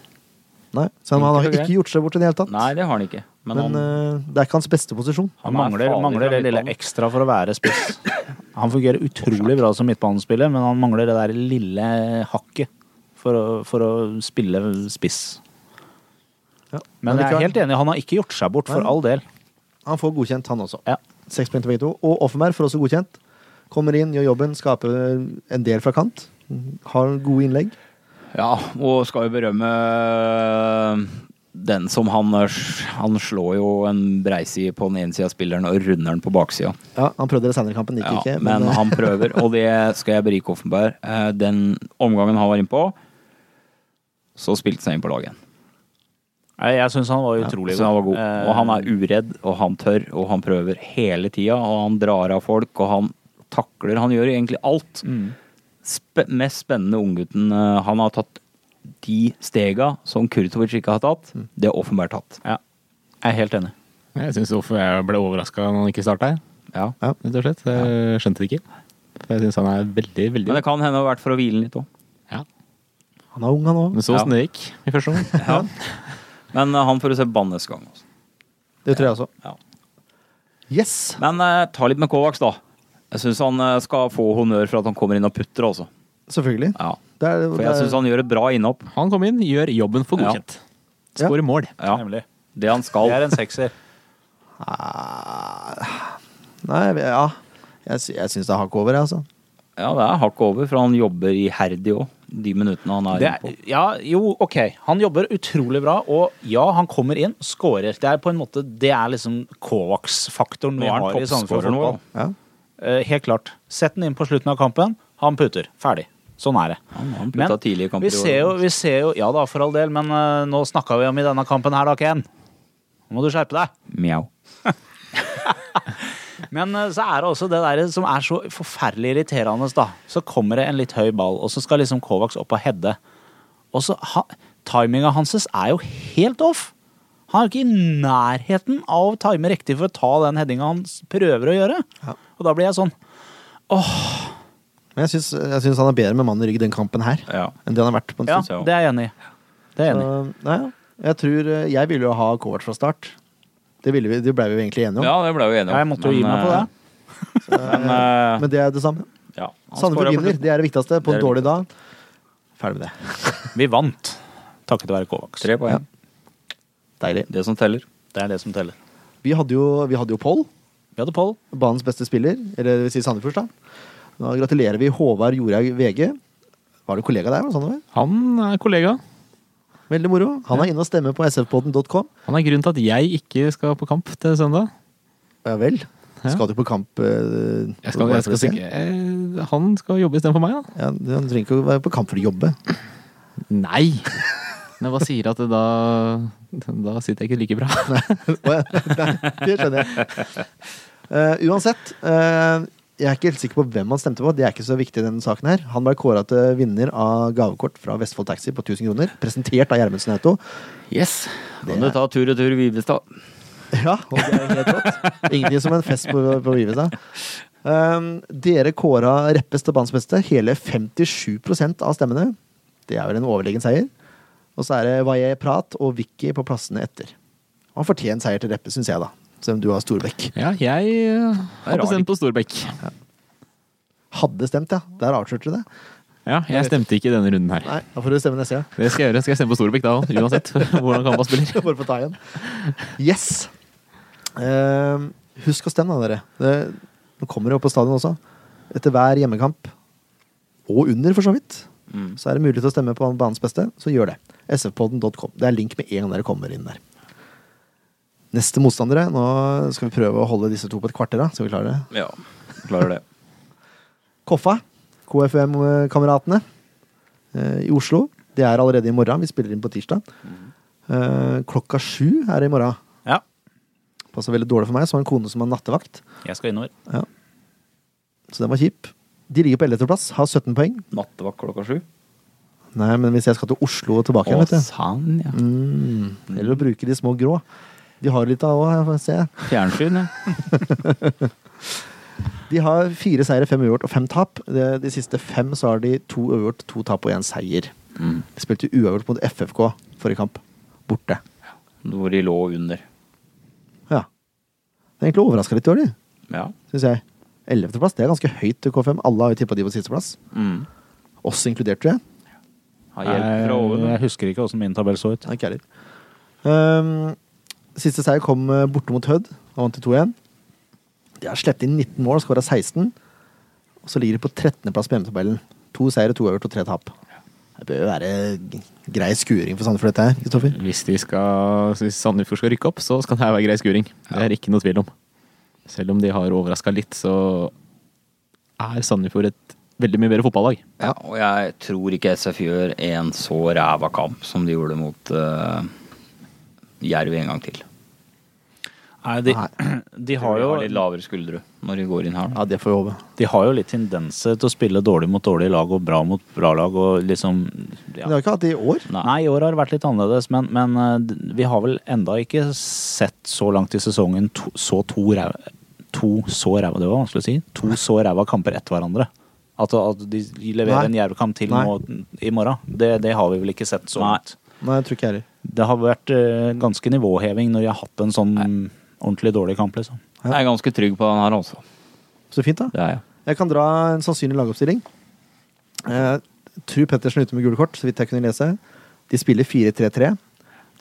A: Nei, så han, han har
B: Enkelt og
A: ikke gjort seg bort i det hele tatt.
B: Nei, det har han ikke. Men,
A: Men
B: han,
A: eh, det er ikke hans beste posisjon.
B: han
F: Han
B: er
F: mangler,
B: farlig
F: mangler
B: fra
F: det lille
B: midtbanen.
F: ekstra for å være spiss. Han fungerer utrolig bra som midtbanespiller, men han mangler det der lille hakket for å, for å spille spiss.
A: Ja.
F: Men jeg
A: likevel,
F: er helt enig, han har ikke gjort seg bort, for
A: Nei.
F: all del.
A: Han får godkjent, han også.
F: Ja.
A: Seks poeng til begge to. Og Offenberg får også godkjent. Kommer inn, gjør jobben, skaper en del fra kant. Har gode innlegg.
B: Ja, og skal jo berømme den som han Han slår jo en breiside på den ene sida av spilleren og runder den på baksida.
A: Ja, han prøvde det senere i kampen, gikk
B: Ja,
A: ikke. eh,
B: men han prøver, og det skal jeg berike Offenberg. Eh, Den omgangen han var innpå, så spilte han seg inn på laget igjen.
F: Nei, Jeg syns han var utrolig
B: Så han var god.
F: Eh,
B: Og han er uredd, og han tør, og han prøver hele tida. Og han drar av folk, og han takler. Han gjør egentlig alt.
F: Mm.
B: Spe mest spennende unggutten eh, han har tatt de stega som Kurtovic ikke har tatt, det har Offenberg tatt.
F: Mm. ja, jeg er helt enig.
E: Jeg syns jeg ble overraska når han ikke starta her,
B: Ja.
E: rett og slett. Jeg skjønte det ikke. For jeg syns han er veldig, veldig
B: Men det kan hende det har vært for å hvile den litt òg.
A: Han er ung, han òg.
E: Men så åssen det gikk i første omgang.
B: Ja. Men eh, han får du se bann neste gang. Også.
A: Det tror jeg også.
B: Ja.
A: Yes!
B: Men eh, ta litt med Kovacs, da. Jeg syns han eh, skal få honnør for at han kommer inn og putter, altså.
A: Selvfølgelig.
B: Ja.
A: Det er,
B: For
A: det
B: jeg
A: er-
B: syns han gjør et bra innhopp.
E: Han kom inn, gjør jobben for
B: Ja.
E: godkjent. Skårer mål.
B: Ja.
F: Eh, Nemlig.
B: Det han skal.
F: Jeg er en sekser.
A: Ah, Nei, ja. Jeg, sy- jeg syns det er hakk over, jeg, altså.
B: Ja, det er hakket over, for han jobber iherdig òg, de minuttene han er
F: Det
B: inne på.
F: er, ja, jo, ok. Han jobber utrolig bra, og ja, han kommer inn, scorer. Det er på en måte, det er liksom Kovacs-faktoren
B: Nå
F: vi
B: er han
F: har i Sandefjord
B: toppscorer nå,
F: fotball.
A: Ja.
F: Eh, helt klart. Sett den inn på slutten av kampen, han putter. Ferdig. Sånn er det.
B: Han, han
F: Men
B: putta tidlig i kamper
F: vi
B: i år.
F: ser, jo, vi ser jo Ja da, for all del, men eh, nå snakka vi om i denne kampen her, da, Ken. Nå må du skjerpe deg.
B: Mjau.
F: Men eh, så er det også det der som er så forferdelig irriterende, da. Så kommer det en litt høy ball, og så skal liksom Kovacs opp og heade. Og så ha, Timinga hans er jo helt off! Han er jo ikke i nærheten av å time riktig for å ta den headinga han s- prøver å gjøre. Og da blir jeg sånn
A: Men jeg syns, jeg syns han er bedre med mann i rygg den kampen her
B: Ja.
A: enn det han har vært på en
F: Ja,
A: stund.
B: jeg også.
F: det er jeg enig i. Det er jeg enig i.
A: Så, nei, ja. jeg tror eh, Jeg ville jo ha Kovac fra start. Det, ville vi, det ble vi jo egentlig enige om.
B: ja, det ble vi enige om. eh,
F: Ja, eh, jeg måtte jo gi meg på det.
B: Men, eh,
A: Men det er det samme.
B: ja, han
A: Sandefjord
B: scoret på
A: vinner,
B: slutt.
A: det er det viktigste. På
B: Det er
A: en
B: det
A: dårlig dag. Ferdig med det.
F: Vi vant takket være Kovacs.
B: Tre poeng.
A: Deilig.
B: Det som teller.
F: Det er det som teller.
A: Vi hadde jo, vi hadde jo Pål,
F: Vi hadde Pål.
A: banens beste spiller. Eller det vil si Sandefjords, da. Da gratulerer vi Håvard Jorhaug VG. Var du kollega der? var det sånn det var?
E: Han er kollega.
A: Veldig moro. Han er inne og stemmer på sfpodden.com.
E: Han er grunnen til at jeg ikke skal på kamp til søndag.
A: Ja vel.
E: Ja.
A: Skal du på kamp eh,
E: Jeg skal,
A: bare
E: jeg
A: for å
E: skal
A: se?
E: sikkert, eh, han skal jobbe istedenfor meg, da.
A: Ja, Du trenger ikke å være på kamp for å jobbe.
E: Nei! Men jeg bare sier at det da Da sitter jeg ikke like bra.
A: Å ja. Nei, det skjønner jeg. Eh, uansett, eh, jeg er ikke helt sikker på hvem han stemte på. Det er ikke så viktig i denne saken her. Han ble kåra til vinner av gavekort fra Vestfold Taxi på 1000 kroner. Presentert av Gjermundsen Auto.
B: Yes.
A: Det
B: Kan du
A: er-
B: ta tur og tur Vivestad?
A: Ja, og det er helt rått. Ingenting som en fest på, på Vivestad. Um, dere kåra Reppes til banens beste. Hele 57 av stemmene. Det er vel en overlegen seier. Og så er det Vaye Prat og Vicky på plassene etter. Han fortjener seier til Reppe, syns jeg, da. Selv om du har Storbekk.
E: Ja, jeg eh,
B: Det er
E: har bestemt på Storbekk.
A: Hadde stemt, ja. Der avslørte du det.
E: Ja, jeg stemte ikke i denne runden her.
A: Nei, da får du stemme neste gang.
E: Det skal jeg gjøre. Skal jeg stemme på Storbekk da òg, uansett hvordan Kampa spiller.
A: Bare få ta igjen. Yes! Eh, husk å stemme, da, dere. Det, nå kommer det opp på stadion også. Etter hver hjemmekamp, og under for så vidt, så er det mulig til å stemme på banens beste. Så gjør det. sfpodden.com. Det er link med en gang dere kommer inn der. Neste motstandere. Nå skal vi prøve å holde disse to på et kvarter. da, Skal vi klare det?
B: Ja, klarer det.
A: Koffa, KFM-kameratene eh, i Oslo. Det er allerede i morgen. Vi spiller inn på tirsdag. Eh, klokka sju er det i morgen.
F: Ja.
A: Passer veldig dårlig for meg, som har en kone som har nattevakt.
F: Jeg skal innover.
A: Så den var kjip. De ligger på 11. plass, har 17 poeng.
B: Nattevakt klokka sju.
A: Nei, men hvis jeg skal til Oslo og tilbake igjen,
B: Å,
A: vet du.
B: sann, ja.
A: Mm. Eller å bruke de små grå. De har litt av òg, ser jeg.
B: Fjernsyn, ja.
A: De har fire seire, fem uavgjort og fem tap. De, de siste fem så har de to uavgjort, to tap og én seier. De spilte uavgjort mot FFK forrige kamp. Borte.
B: Hvor de lå under.
A: Ja. Det er egentlig overraska litt i år, de,
B: Ja.
A: syns jeg. Ellevteplass, det er ganske høyt til K5. Alle har jo tippa de på sisteplass.
B: Mm.
A: Oss inkludert, tror jeg.
B: Har hjelp fra
F: Jeg,
B: oven.
F: jeg husker ikke åssen min tabell så ut.
A: Nei, Ikke jeg heller. Ehm, siste seier kom eh, borte mot Hødd. Da vant de 2-1. De har sluppet inn 19 mål, skåra 16. Og så ligger de på 13.-plass på hjemmetabellen. To seire, to øvert og tre tap. Det bør jo være g- grei skuring for Sandefjord, dette her, Kristoffer.
E: Hvis, de skal, hvis Sandefjord skal rykke opp, så skal det her være grei skuring. Det er ikke noe tvil om. Selv om de har overraska litt, så er Sandefjord et veldig mye bedre fotballag.
B: Ja, og jeg tror ikke SF gjør en så ræva kamp som de gjorde mot eh, Jerv en gang til.
F: Nei, de,
A: Nei.
F: de,
B: Har
F: har jo,
B: litt lavere skuldre når de går inn her. Da.
A: Ja, det får vi håpe.
F: de har jo litt tendenser til å spille dårlig mot dårlig lag og bra mot bra lag og liksom
A: Men de
F: ja.
A: har ikke hatt det i år.
F: Nei, i år har det vært litt annerledes, men, men eh, d- vi har vel enda ikke sett så langt i sesongen to, så to ræva To så ræva, det var vanskelig å si. To så ræva kamper etter hverandre. At, at de leverer
A: Nei.
F: en jervkamp til
A: Nei.
F: nå, i morgen. Det, det har vi vel ikke sett så langt.
A: Nei, jeg tror ikke jeg heller.
F: Det har vært eh, ganske nivåheving når de har hatt en sånn ordentlig dårlig kamp, liksom.
B: Jeg er ganske trygg på den her, altså.
A: Så fint, da.
B: Det er jeg.
A: Jeg kan dra en sannsynlig lagoppstilling. Eh, Tru Pettersen er ute med gule kort, så vidt jeg kunne lese. De spiller 4-3-3.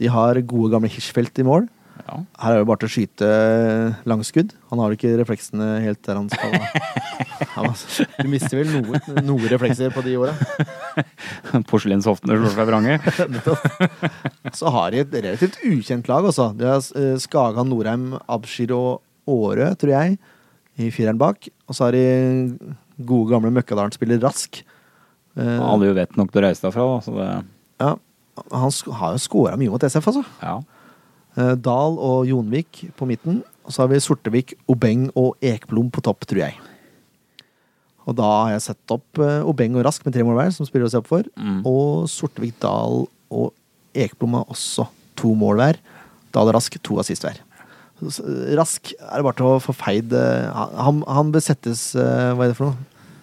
A: De har gode, gamle Hirschfeldt i mål.
B: Ja.
A: Her er det bare til å skyte eh, langskudd. Han har jo ikke refleksene helt der han skal. da. Ja, men altså, Du mister vel noen noe reflekser på de åra.
B: Porselenshoftene slår seg vrange.
A: Så har de et relativt ukjent lag, altså. De har eh, Skagan, Norheim, Abshir og Årø, tror jeg, i fireren bak. Og så har de gode, gamle Møkkadalen-spiller Rask. Eh,
B: Alle jo vet nok til å reise derfra, da. Så det,
A: Ja, han sk- har jo scora mye mot SF, altså.
B: ja.
A: Eh, Dahl og Jonvik på midten. Og så har vi Sortevik, Obeng og Ekblom på topp, tror jeg. Og da har jeg sett opp eh, Obeng og Rask med tre mål hver, som spiller å se opp for. Og Sortevik, Dahl og Ekblom har også to mål hver. Dahl og Rask to assist hver. Så- så Rask er det bare til å få feid eh, Han, han besettes eh, Hva er det for noe?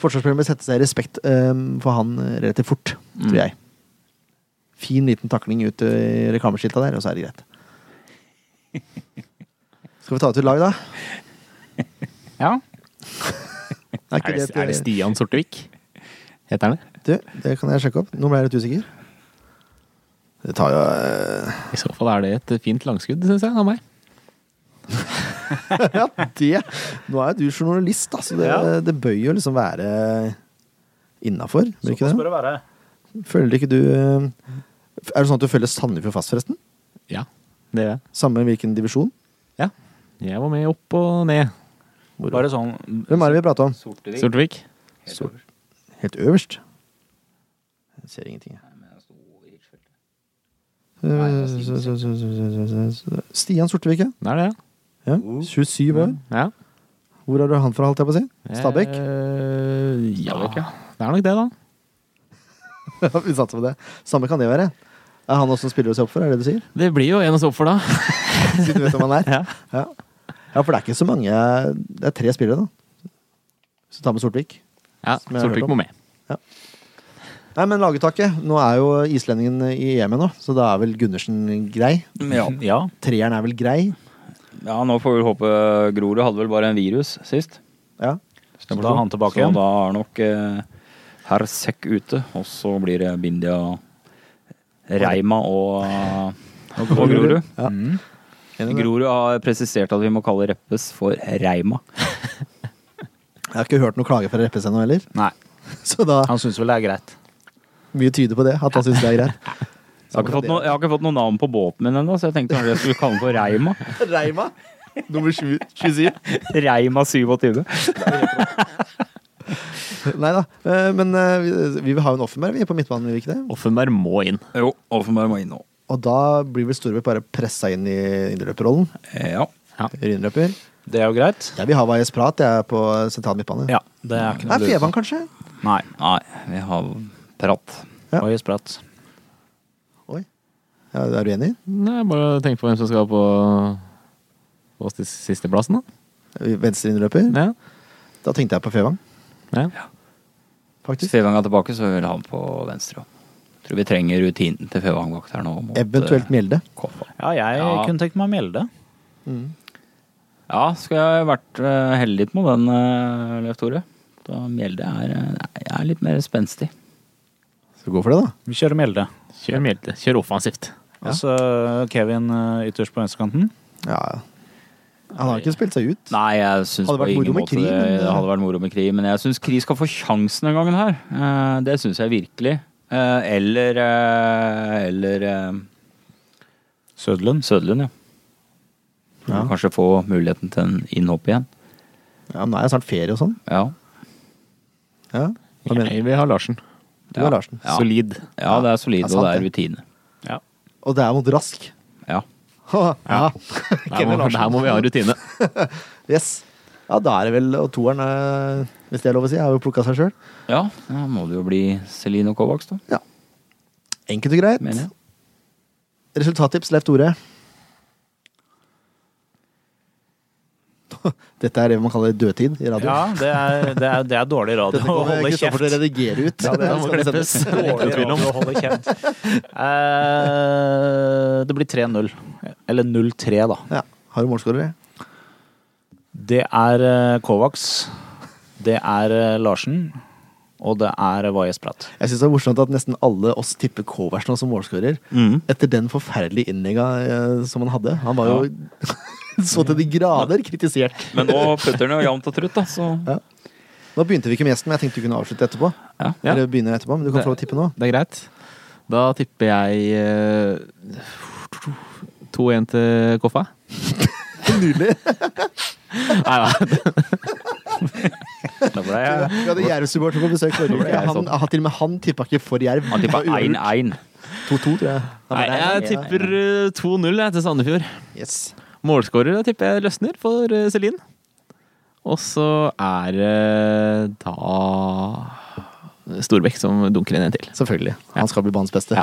A: Forsvarsspilleren besettes i respekt eh, for han relativt fort, tror jeg. Fin liten takling ut i reklameskilta der, og så er det greit. Skal vi ta ut et lag, da?
E: Ja.
A: Er,
E: Er
A: ikke
E: det,
A: det, eh,
E: er det Stian Sortevik? Heter han det?
A: Du, det kan jeg sjekke opp. Nå ble jeg litt usikker. Det tar jo eh,
E: I så fall er det et fint langskudd, syns jeg, av meg.
A: Ja, det Nå er jo du journalist, da, så det,
F: Ja.
A: det bør jo liksom være innafor. Ikke det?
F: det være.
A: Følger ikke du eh, Er det sånn at du følger Sandefjord fast, forresten?
E: Ja, det gjør jeg.
A: Samme hvilken divisjon?
E: Ja. Jeg var med opp og ned.
F: Bare sånn
A: Hvem er det vi prater om?
B: Sortevik.
E: Sortevik?
A: Helt øverst? Jeg ser ingenting, jeg. Eh, Stian Sortevik, ja.
E: Det er det,
A: ja. 27 år.
E: Oh. ja. ja.
A: Hvor er du han fra, holdt jeg på å si? Stabæk?
E: Eh, Ja, det er nok det, da.
A: Vi satser på det. Samme kan det være. Er han også en spiller å se opp for, er det det du sier?
E: Det blir jo en å stå opp for, da.
A: Siden du vet hvem han er.
E: Ja.
A: Ja. ja, for det er ikke så mange Det er tre spillere, da. Så ta med Sortvik.
E: Ja,
A: Som jeg har hørt
E: Sortevik
A: om.
E: må med.
A: Nei, men laguttaket. Nå er jo islendingen i EM nå, så da er vel Gundersen grei.
B: Ja.
F: Ja.
A: Treeren er vel grei.
B: ja, nå får vi vel håpe Grorud hadde vel bare en virus sist.
A: Ja.
F: Så da er han tilbake
B: Så
F: igjen.
B: da har nok eh, herr Sekk ute, og så blir det Bindia, Reima og, og Grorud.
A: Ja.
F: Mm.
A: Enig i det.
B: Grorud har presisert at vi må kalle Reppes for Reima.
A: Jeg har ikke hørt noen klage fra Reppes ennå heller,
F: Nei,
A: så da
F: han syns vel det er greit.
A: mye tyder på det. At han syns det er greit.
B: Jeg har ikke fått, noe, jeg har ikke fått noe navn på båten min ennå, så jeg tenkte kanskje jeg skulle kalle den for Reima.
A: Reima, nummer 27.
B: Reima 27.
A: Nei da. eh, Men eh, vi- vi vil ha en offenberg, vi, på midtbanen, vil vi ikke det?
E: Offenberg må inn.
B: Jo, Offenberg må inn nå.
A: Og da blir vel Storvik bare pressa inn i indreløperrollen.
B: Eh, Ja.
A: Innløper.
F: Det er jo greit.
A: Jeg vil ha Vajes Prat, jeg, er på sentral midtbane.
F: Ja, det er ikke
A: Nei,
F: noe
A: Fevan, kanskje?
F: Nei.
B: Nei, vi har prat.
A: Ja.
F: Oi, spratt.
A: Ja, er du enig?
E: Nei, bare tenk på hvem som skal på, på sti- sisteplassen, da.
A: Venstre innløper?
E: Ja.
A: Da tenkte jeg på Fevang,
E: Ja.
A: faktisk.
B: Fevang er tilbake, så vil vi ha han på venstre òg. Tror vi trenger rutinen til Fevang bak der nå. mot,
A: Eventuelt
B: eh,
A: Mjelde.
B: Koffa.
F: Ja, jeg
B: Ja.
F: kunne tenkt meg å melde.
B: Ja, skulle jeg vært eh, heldig med den, eh, Leif Tore. Da Mjelde er, eh, er litt mer spenstig.
A: Så gå for det, da.
F: Vi kjører melde.
E: Kjør Mjelde. Kjør offensivt.
A: Ja.
F: Og så Kevin eh, ytterst på venstrekanten.
A: Ja, ja. Han har ikke spilt seg ut.
B: Nei, jeg syns
A: Hadde
B: på
A: vært moro
B: ingen
A: med
B: måte
A: Kri,
B: det,
A: men- eh,
B: det hadde vært moro med Kri. Men jeg syns Kri skal få sjansen den gangen her. Eh, Det syns jeg virkelig. Eh, Eller eh, Eller eh,
F: Sødlund.
B: Søderlund, ja.
A: Ja.
B: Kanskje få muligheten til en innhopp igjen.
A: Ja, men nå er det snart ferie og sånn.
B: Ja.
A: Ja. Hva mener du?
E: Jeg vil ha Larsen.
A: Du og Larsen.
B: Ja.
E: Solid.
B: Ja, det er solid,
A: Det er sant,
B: og det er
A: det.
B: rutine.
A: Og det er mot Rask.
B: Ja.
A: ja.
E: Der må, der må vi ha rutine.
A: Yes. Ja, da er det vel Og toeren, eh, hvis det er lov å si, har jo plukka seg sjøl.
B: ja, da må det jo bli Celine og Kovacs, da.
A: Enkelt og greit.
B: Mener jeg.
A: Resultattips, Leif Tore. Dette er det man kaller dødtid i radio.
F: Ja, det er, det, er, det er dårlig radio
A: Dette
F: å
A: kommer
F: holde
A: Kristoffer til å
F: kjeft.
A: redigere ut.
F: Ja, det
A: Skal det sendes?
F: Dårlig radio å holde kjeft. Eh, det blir 3-0. Eller 0-3, da.
A: Ja. Har du målskårere?
F: Det er eh, Kovacs. Det er eh, Larsen. Og det er eh, Vajes Prat.
A: Jeg syns det er morsomt at nesten alle oss tipper Kovac nå som målskårer. Etter den forferdelige innlegga eh, som han hadde. Han var jo så til de grader kritisert.
B: Men nå putter han jo jevnt og trutt, da, så
A: Nå begynte vi ikke med gjesten, men jeg tenkte vi kunne avslutte etterpå.
B: Ja.
A: Eller begynne etterpå, men du kan få lov å tippe nå.
E: Det er greit. Da tipper jeg eh, 2-1 til Koffa.
A: Nydelig.
E: Nei da.
B: Da ble jeg
A: Vi hadde Jerv-supporter på besøk forrige uke. Han, han- til og med han tippa ikke for Jerv.
B: Han tippa
A: Det var uavgjort. 2-2,
B: 1-1.
A: tror jeg.
E: Nei, jeg tipper eh, 2-0 jeg, til Sandefjord.
A: Yes.
E: Målskårer jeg tipper jeg løsner for eh, Celine. Og så er det da Storbekk som dunker inn en til.
A: Selvfølgelig. Han skal bli banens beste.
E: Ja.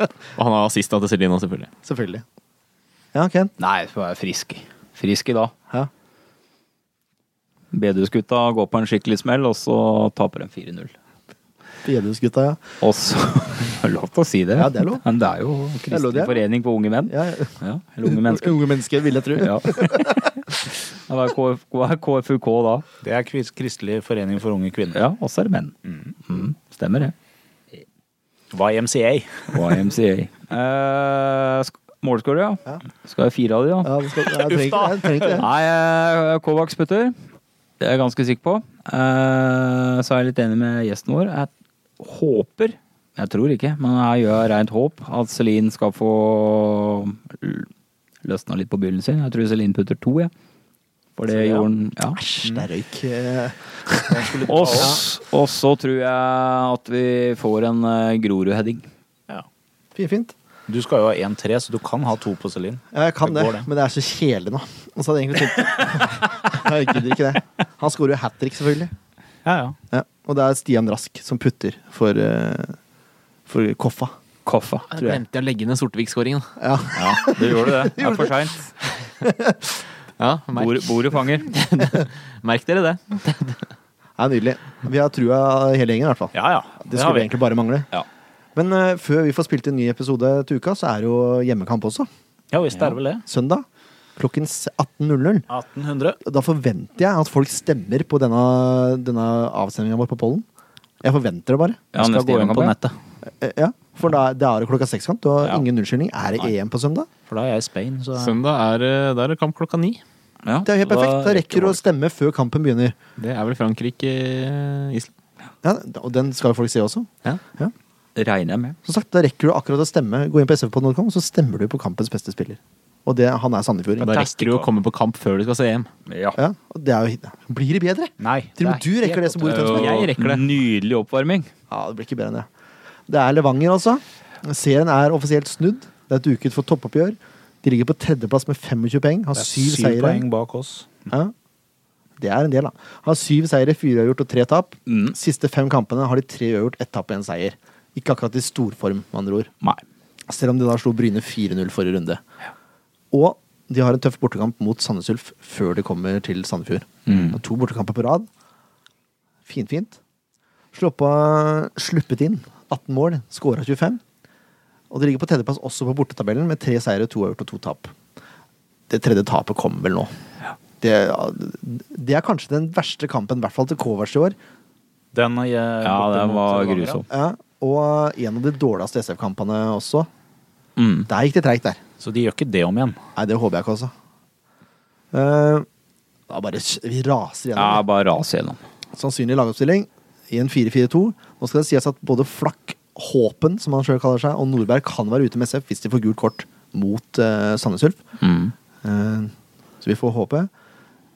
E: Og han har assista til Celine også, selvfølgelig.
A: Selvfølgelig. Ja, Ken.
B: Nei, jeg skal være frisk. Frisk i dag.
A: Ja.
B: Bedehusgutta går på en skikkelig smell, og så taper de 4-0.
A: Bedehusgutta, ja.
B: Og så Det er Lov til å si det.
A: Ja, det er lov.
B: Men det er jo
A: er lov, det
B: Kristelig
A: er.
B: forening for unge menn.
A: ja. ja.
B: Ja, eller unge mennesker.
A: Unge mennesker, vil jeg tro.
B: Ja. Hva er KF hva er KFUK da?
F: Det er Kvis- Kristelig forening for unge kvinner.
B: Ja, også er det menn. Mm, stemmer det.
F: YMCA.
B: YMCA. Eh, sk- Målskårer, ja.
A: Ja.
B: Skal jeg fire av de, da?
A: Ja, det skal, jeg trenger ikke jeg trenger ikke det.
B: Nei, eh, Kovac putter. Det er jeg ganske sikker på. Eh, så er jeg litt enig med gjesten vår. Jeg håper, jeg tror ikke, men jeg gjør rent håp, at Celine skal få l- løsna litt på byllen sin. Jeg tror Celine putter to, jeg. For det gjorde han ja. Mm.
A: Æsj, der røyk eh,
B: Og s- og så tror jeg at vi får en eh, Grorud-heading.
A: Finfint.
F: Du skal jo ha 1-3, så du kan ha to på Celine.
A: Ja, jeg kan
F: Det
A: det,
F: går det.
A: men det er så kjedelig nå. Og så hadde jeg egentlig tenkt Jeg gidder ikke det. Han skårer jo hat trick, selvfølgelig.
F: Ja, ja.
A: Ja. Og det er Stian Rask som putter for, eh, for Koffa.
B: Koffa.
E: Jeg glemte jeg å legge ned Sortevik-skåringen.
A: Ja.
B: Ja, du gjorde det. Det er for seint.
E: Ja, merk,
B: Bordet bordet fanger.
E: merk dere det.
A: Det er nydelig. Vi har trua hele gjengen, i hvert fall.
F: ja, ja.
A: Det skulle egentlig bare mangle.
B: Ja.
A: Men eh, før vi får spilt en ny episode til uka, så er det jo hjemmekamp også.
F: Ja visst er det vel det.
A: Søndag klokken s- 18.00.
F: 1800.
A: Da forventer jeg at folk stemmer på denne, denne avstemninga vår på pollen. Jeg forventer det bare.
B: Ja,
F: skal
B: neste
F: gå inn
B: hjemmekamp,
F: på
B: ja.
F: nettet.
A: Eh, Ja, for da, det er jo klokka seks-kamp. Du har
B: Ja.
A: ingen unnskyldning. Er det EM på søndag?
F: For da er jeg i Spain, så
E: Søndag er eh, der er kamp klokka ni.
B: Ja,
A: Det er jo helt perfekt. Da rekker du å stemme før kampen begynner.
E: Det er vel eh, Frankrike-Island.
A: Ja, og den skal jo folk se også.
E: Ja.
B: Regner jeg med.
A: Som sagt, da rekker du akkurat å stemme. Gå inn på sfp.com, så stemmer du på kampens beste spiller. Og det, han er sandefjording.
E: Da rekker du å komme på kamp før du skal se EM.
B: Ja.
A: Ja, og det er jo, blir det bedre?
F: Nei.
A: Til og med
F: det
A: du
F: er
A: rekker det
F: helt
A: som bor i
B: Øh,
A: Tønsberg.
E: Jeg rekker det.
B: Nydelig oppvarming.
A: Ja, det blir ikke bedre enn det. Det er Levanger, altså. Serien er offisielt snudd. Det er duket for toppoppgjør. De ligger på tredjeplass med 25 poeng. Har
F: Det er
A: syv seire.
F: poeng bak oss.
A: Ja. Det er en del, da. Har syv seire, fire uavgjort og tre tap.
B: Mm.
A: Siste fem kampene har de tre uavgjort, ett tap og én seier. Ikke akkurat i storform, med andre ord.
B: Nei.
A: Selv om de da slo Bryne 4-0 forrige runde. Og de har en tøff bortekamp mot Sandnes Ulf før de kommer til Sandefjord. Det er To bortekamper på rad. Fint, fint. Sluppa, sluppet inn 18 mål, skåra 25. Og de ligger på tredjeplass også på bortetabellen med tre seire, to uavgjort og to tap. Det tredje tapet kommer vel nå. Det, det er kanskje den verste kampen, i hvert fall til Kovac i år.
F: Den eh,
B: Ja,
F: borte
B: den
F: mot
B: var
F: Levanger,
B: grusom.
A: Ja, og en av de dårligste SF-kampene også.
B: Mm.
A: Der gikk det treigt, der.
F: ja. Så de gjør ikke det om igjen.
A: Nei, det håper jeg ikke også. Eh, da bare s- vi raser
B: Ja,
A: gjennom.
B: bare rase gjennom.
A: Sannsynlig lagoppstilling i en 4-4-2. Nå skal det sies at både Flakk, Håpen, som han sjøl kaller seg, og Nordberg kan være ute med SF hvis de får gult kort mot uh, Sandnes Ulf.
B: Mm.
A: Eh, så vi får håpe.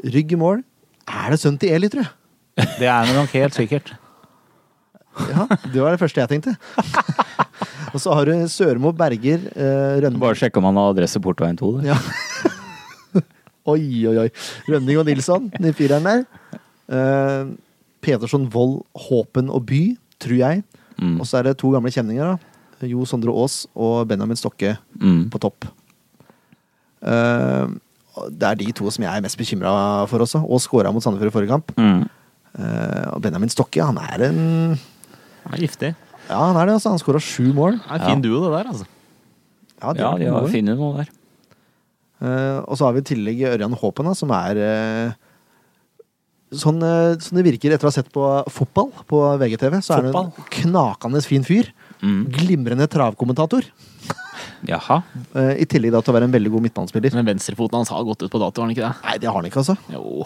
A: Rygg i mål. Er det sønnen til Eli, tror jeg?
F: Det er det nok helt sikkert.
A: Ja, det var det første jeg tenkte. og så har du Sørmo, Berger, uh, Rønne
B: Bare sjekke om han har adresse Portveien 2. Det.
A: Ja. oi, oi, oi. Rønning og Nilsson, de fireren der. Eh, Petersson, Vold, Håpen og By, tror jeg.
B: Mm.
A: Og så er det to gamle kjenninger. da. Jo Sondre Aas og Benjamin Stokke
B: Mm.
A: på topp. Eh, og det er de to som jeg er mest bekymra for også. Og skåra mot Sandefjord i forrige kamp.
B: Mm.
A: Eh, og Benjamin Stokke, han er en
E: Det er giftig.
A: Ja, han er det, altså. Han skåra sju mål.
E: Det er en fin duo, det der, altså.
A: Ja, det
B: Ja,
A: er
B: de har
A: noe.
B: funnet noe der.
A: Eh, og så har vi i tillegg Ørjan Håpen, da, som er eh, sånn, eh, sånn det virker etter å ha sett på fotball på VGTV, så er han en knakende fin fyr.
B: Mm.
A: Glimrende travkommentator.
B: Jaha.
A: Eh, I tillegg da, til å være en veldig god midtbanespiller.
E: Men venstrefoten hans har gått ut på dato, har han ikke det?
A: Nei, det har han ikke, altså.
E: Jo.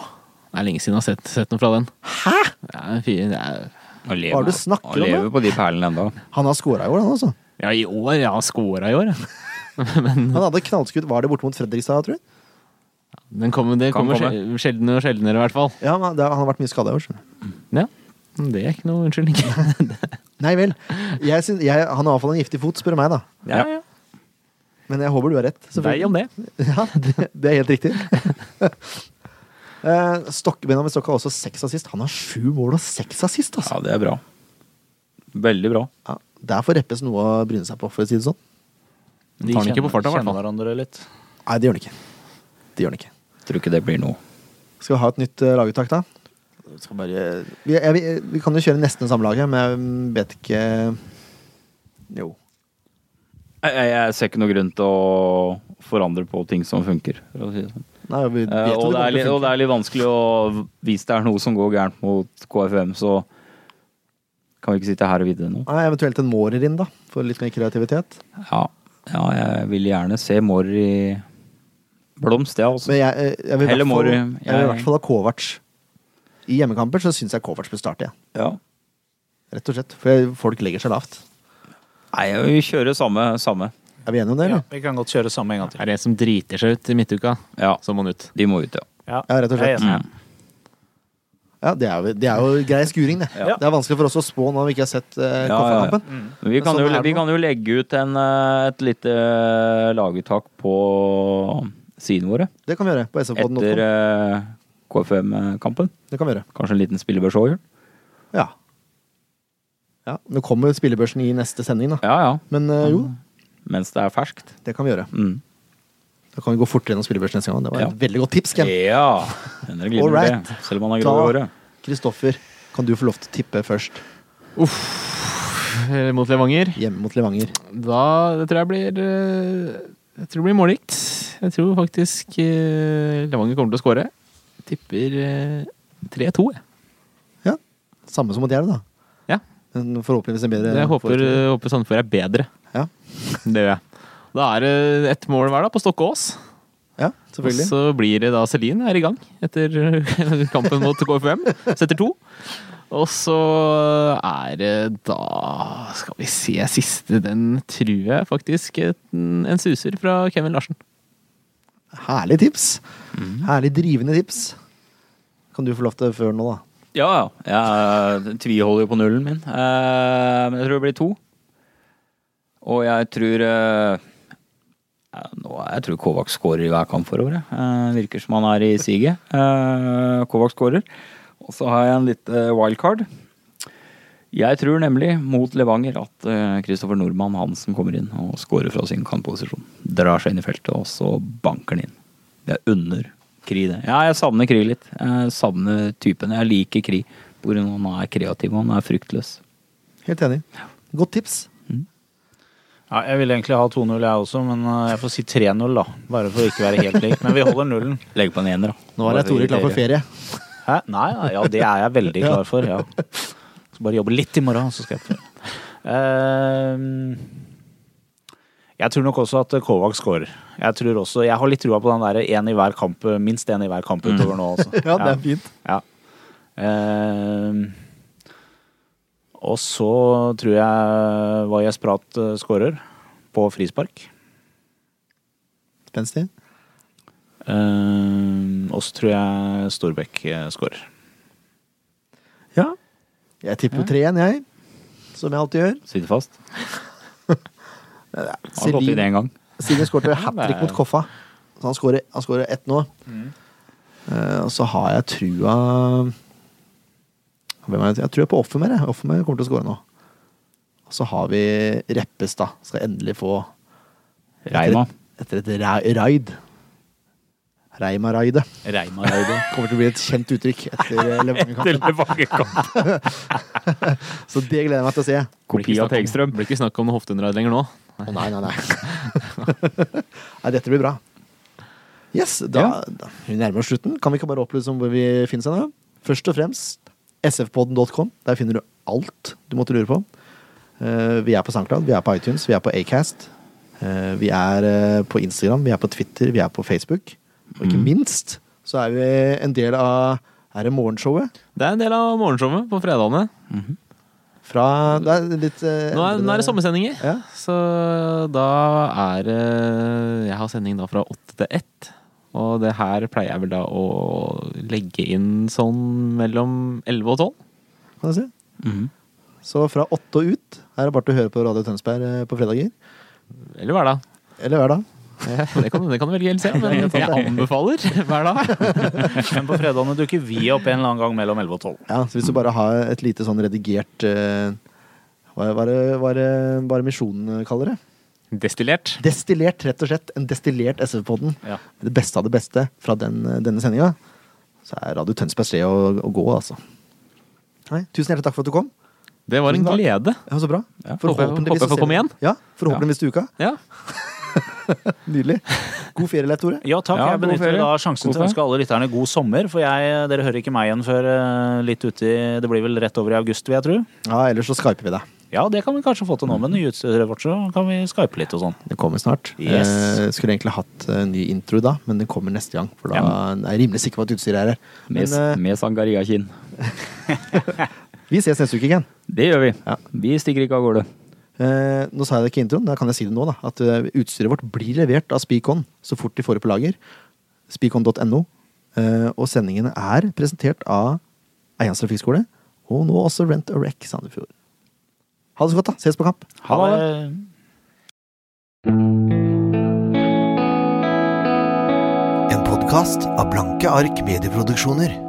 E: Det er lenge siden jeg har sett, sett noe fra den. Hæ?! Det er fire, det er,
B: Han lever,
A: Hva er det du snakker
B: han
A: om, da?
B: lever på de perlene ennå.
A: Han har scora i år, han altså.
E: ja, i år. Jeg har scora i år. jeg. Men
A: Han hadde knallskudd, var det borte mot Fredrikstad, tror jeg?
E: den kommer, det
B: Kan
E: kommer
B: komme.
E: sjel- sjeldnere og sjeldnere, i hvert fall.
A: Ja, men det, han har vært mye skada i år, skjønner du.
E: Ja. Det er ikke noe unnskyldning.
A: Nei vel. Jeg syns- jeg, han har iallfall en giftig fot, spør du meg, da.
E: Ja, ja.
A: Men jeg håper du har rett.
E: Deg om det.
A: Ja, det, det er helt riktig. Eh, Stokke, Benjamin Stokke har også seks assist. Han har sju mål og seks assist, altså.
B: Ja, det er bra. Veldig bra.
A: Ja, der får Reppes noe å bryne seg på, for å si det sånn.
E: De tar den ikke på farta, i hvert
F: kjenner
E: fall.
F: hverandre litt.
A: Nei, det gjør han ikke. Det gjør han ikke.
B: Tror ikke det blir noe.
A: Skal vi ha et nytt eh, laguttak, da? Vi Skal bare... vi, jeg, vi, vi kan jo kjøre nesten det samme laget, men jeg mm, vet ikke Jo.
B: Jeg, jeg, jeg ser ikke noe grunn til å forandre på ting som funker. For å si det sånn.
A: Nei, vi vet
B: Eh,
A: jo det
B: og, det
A: kommer
B: er litt,
A: til å
B: og det
A: funke.
B: er litt vanskelig å Hvis det er noe som går gærent mot KFM, så kan vi ikke sitte her og vite det nå.
A: Nei, eventuelt en mårer inn, da. For litt mer kreativitet.
B: Ja, ja jeg vil gjerne se Mårer i blomst, jeg også.
A: Men jeg, eh, jeg, vil, i
B: Heller
A: hvert fall,
B: Mårer,
A: jeg vil i
B: jeg-
A: hvert fall ha Kovac. I hjemmekamper så syns jeg Kovac bør starte, ja.
B: Ja.
A: Rett og slett. For folk legger seg lavt.
B: Nei, vi kjører samme. samme.
A: Er vi enige om det,
F: Ja,
A: eller?
F: vi kan godt kjøre samme en gang til.
E: Er det en som driter seg ut i midtuka,
B: Ja,
E: så må han ut.
B: de må ut, ja.
A: Ja, rett og
F: Jeg er
A: slett.
F: enig.
B: Mm.
A: Ja, det, er jo, det er jo grei skuring, det.
B: Ja.
A: Det er vanskelig for oss å spå når vi ikke har sett uh,
B: Ja, ja, ja.
A: kampen.
F: Mm.
B: Men Vi
A: Men
B: kan,
A: sånn er
B: jo,
A: det
B: vi
A: nå.
B: kan jo legge ut en, eh, et lite eh, laguttak på sidene våre
A: Det kan vi gjøre på SV-podden.
B: etter eh, KFM-kampen.
A: Det kan vi gjøre.
B: Kanskje en liten spillebørs òg, Jørn?
A: Ja. ja. Nå kommer spillebørsen i neste sending, da.
B: Ja ja.
A: Men eh,
B: Mm.
A: jo,
B: Mens det er ferskt.
A: det kan vi gjøre.
B: Mm.
A: Da kan vi gå fortere gjennom spillebørsen neste gang. Det var
B: Ja.
A: et veldig godt tips, Ken.
B: Ja! Den er glidende,
A: Alright.
B: det. Selv om han er grå i
A: Da,
B: håret.
A: Kristoffer, kan du få lov til å tippe først?
E: Eh, Mot Levanger.
A: Hjemme mot Levanger.
E: Da det tror jeg blir eh, Jeg tror det blir målrikt. Jeg tror faktisk eh, Levanger kommer til å skåre. Tipper eh, 3-2, jeg.
A: Samme som mot Jerv, da.
E: Ja.
A: En- Forhåpentligvis en bedre
E: Jeg håper, eh,
A: forestilling.
E: håper Sandefjord er bedre.
B: eh,
A: Ja.
E: Det gjør jeg. Da er det ett mål hver da på Stokkås.
A: Ja,
E: Og
A: selvfølgelig.
E: så blir det da Celine er i gang etter kampen mot KFUM. Setter to. Og så er det da Skal vi se, siste den tror jeg faktisk en, en suser fra Kevin Larsen.
A: Herlig tips! Herlig drivende tips. Kan du få lov til før nå, da?
B: Ja, ja. Jeg tviholder jo på nullen min. Eh, men jeg tror det blir to. Og jeg tror eh, ja, nå, er- Jeg tror Kovac skårer i hver kamp for året. Eh, virker som han er i siget. Eh, Kovac skårer. Og så har jeg en litt eh, wildcard. Jeg tror nemlig, mot Levanger, at eh, Kristoffer Nordmann Hansen kommer inn og skårer fra sin kantposisjon. Drar seg inn i feltet, og så banker han inn. Jeg unner Kri det. Ja, jeg savner Kri litt. Jeg savner typen. Jeg liker Kri. Hvor han er kreativ, og han er fryktløs.
A: Helt enig. Godt tips.
F: Ja, jeg ville egentlig ha 2-0 jeg også, men eh, jeg får si 3-0 da. Bare for å ikke være helt lik. Men vi holder nullen.
B: Legg på en ener, da.
A: Nå er jeg Tore klar for ferie.
F: Hæ? Nei, nei, ja, det er jeg veldig klar for. Ja. Skal bare jobbe litt i morgen, så skal jeg prøve. Ehm, jeg tror nok også at Kovac scorer. Jeg tror også, jeg har litt trua på den der en i hver kamp, minst én i hver kamp utover nå. Altså.
A: Mm. Ja, det er fint.
F: Ja. Ehm, og så tror jeg Vajas Prat eh, scorer på frispark.
A: Spenstig.
F: Ehm, og så tror jeg Storbekk eh, scorer.
A: Ja. Jeg tipper 3-1, jeg. Som jeg alltid gjør.
B: Sitter fast. Har gått i det
A: Celine,
B: en gang.
A: Celine skårte hat trick mot Koffa. Så han skårer, han skårer ett nå. Eh, og så har jeg trua Hvem er det? Jeg tror på Offermer. jeg. Offermer kommer til å skåre nå. Og så har vi Reppestad. Skal endelig få
B: Reima.
A: etter et ra- raid. Reima-raidet.
F: Reima-raidet.
A: Kommer til å bli et kjent uttrykk etter eh, Levanger-kampen. Så det gleder jeg meg til å se.
B: Kopi av Tegstrøm.
E: Blir ikke snakk om noe hofteunderarbeid lenger nå.
A: Å nei, nei, nei. nei, dette blir bra. Yes, da, da vi nærmer oss slutten. Kan vi ikke bare opplyse om hvor vi finnes hen? da? Først og fremst sfpodden.com. Der finner du alt du måtte lure på. Eh, vi er på SoundCloud, vi er på iTunes, vi er på Acast. Eh, vi er eh, på Instagram, vi er på Twitter, vi er på Facebook. Og ikke
E: Mm.
A: minst så er vi en del av Er det morgenshowet?
E: Det er en del av morgenshowet på fredagene.
A: Fra Det er litt eh,
E: Nå er, nå er det sommersendinger,
A: Ja.
E: så da er det Jeg har sending da fra åtte til ett. Og det her pleier jeg vel da å legge inn sånn mellom elleve og tolv.
A: kan jeg si.
E: Mhm.
A: Så fra åtte og ut er det bare til å høre på Radio Tønsberg eh, på fredager.
E: Eller hverdag.
A: Eller hverdag.
E: Det kan, det kan du velge helt selv, men jeg anbefaler hverdag.
F: Men på fredagene dukker vi opp en eller annen gang mellom 11 og 12.
A: Ja, så hvis du bare har et lite sånn redigert eh, Hva hva er det hva er det bare Misjonen eh, kaller det?
E: Destillert.
A: Destillert, rett og slett. En destillert SV-podden.
F: Ja.
A: Det beste av det beste fra den, eh, denne sendinga. Så er Radio Tønsberg sted å, å gå, altså. Nei, tusen hjertelig takk for at du kom.
E: Det var en
A: Tusen takk.
E: glede.
A: Ja, så bra.
E: Ja, håper jeg- håper jeg
A: så
E: får
A: ser
E: komme
A: vi-
E: igjen.
A: Ja, forhåpentligvis til uka.
E: Ja.
A: Nydelig. God ferie, Leif Tore.
F: Ja takk,
B: Ja,
F: jeg
B: god
F: benytter
B: ferie.
F: da sjansen
B: God
F: til å
B: ferie.
F: ønske alle lytterne god sommer, for jeg, dere hører ikke meg igjen før eh, litt uti Det blir vel rett over i august, vil jeg tro.
A: Ja, ellers så skyper vi deg.
F: Ja, det kan vi kanskje få til nå, men i utstyret vårt så kan vi skype litt og sånn.
A: Det kommer snart.
F: Yes.
A: Eh, skulle egentlig hatt eh, ny intro da, men den kommer neste gang. For da er jeg rimelig sikker på at utstyret er her. Men
B: Med,
A: eh,
B: med Sangaria-kinn.
A: vi ses neste uke igjen.
B: Det gjør vi.
A: Ja.
B: Vi stikker ikke av gårde.
A: Eh, nå sa jeg det ikke i introen, da kan jeg si det nå. da, At eh, utstyret vårt blir levert av Spikon så fort de får det på lager. Spikon.no. Eh, og sendingene er presentert av Eians trafikkskole. Og nå også Rent a Wreck Sandefjord. Ha det så godt, da. Ses på kamp.
F: Ha det!
G: En podkast av Blanke ark medieproduksjoner.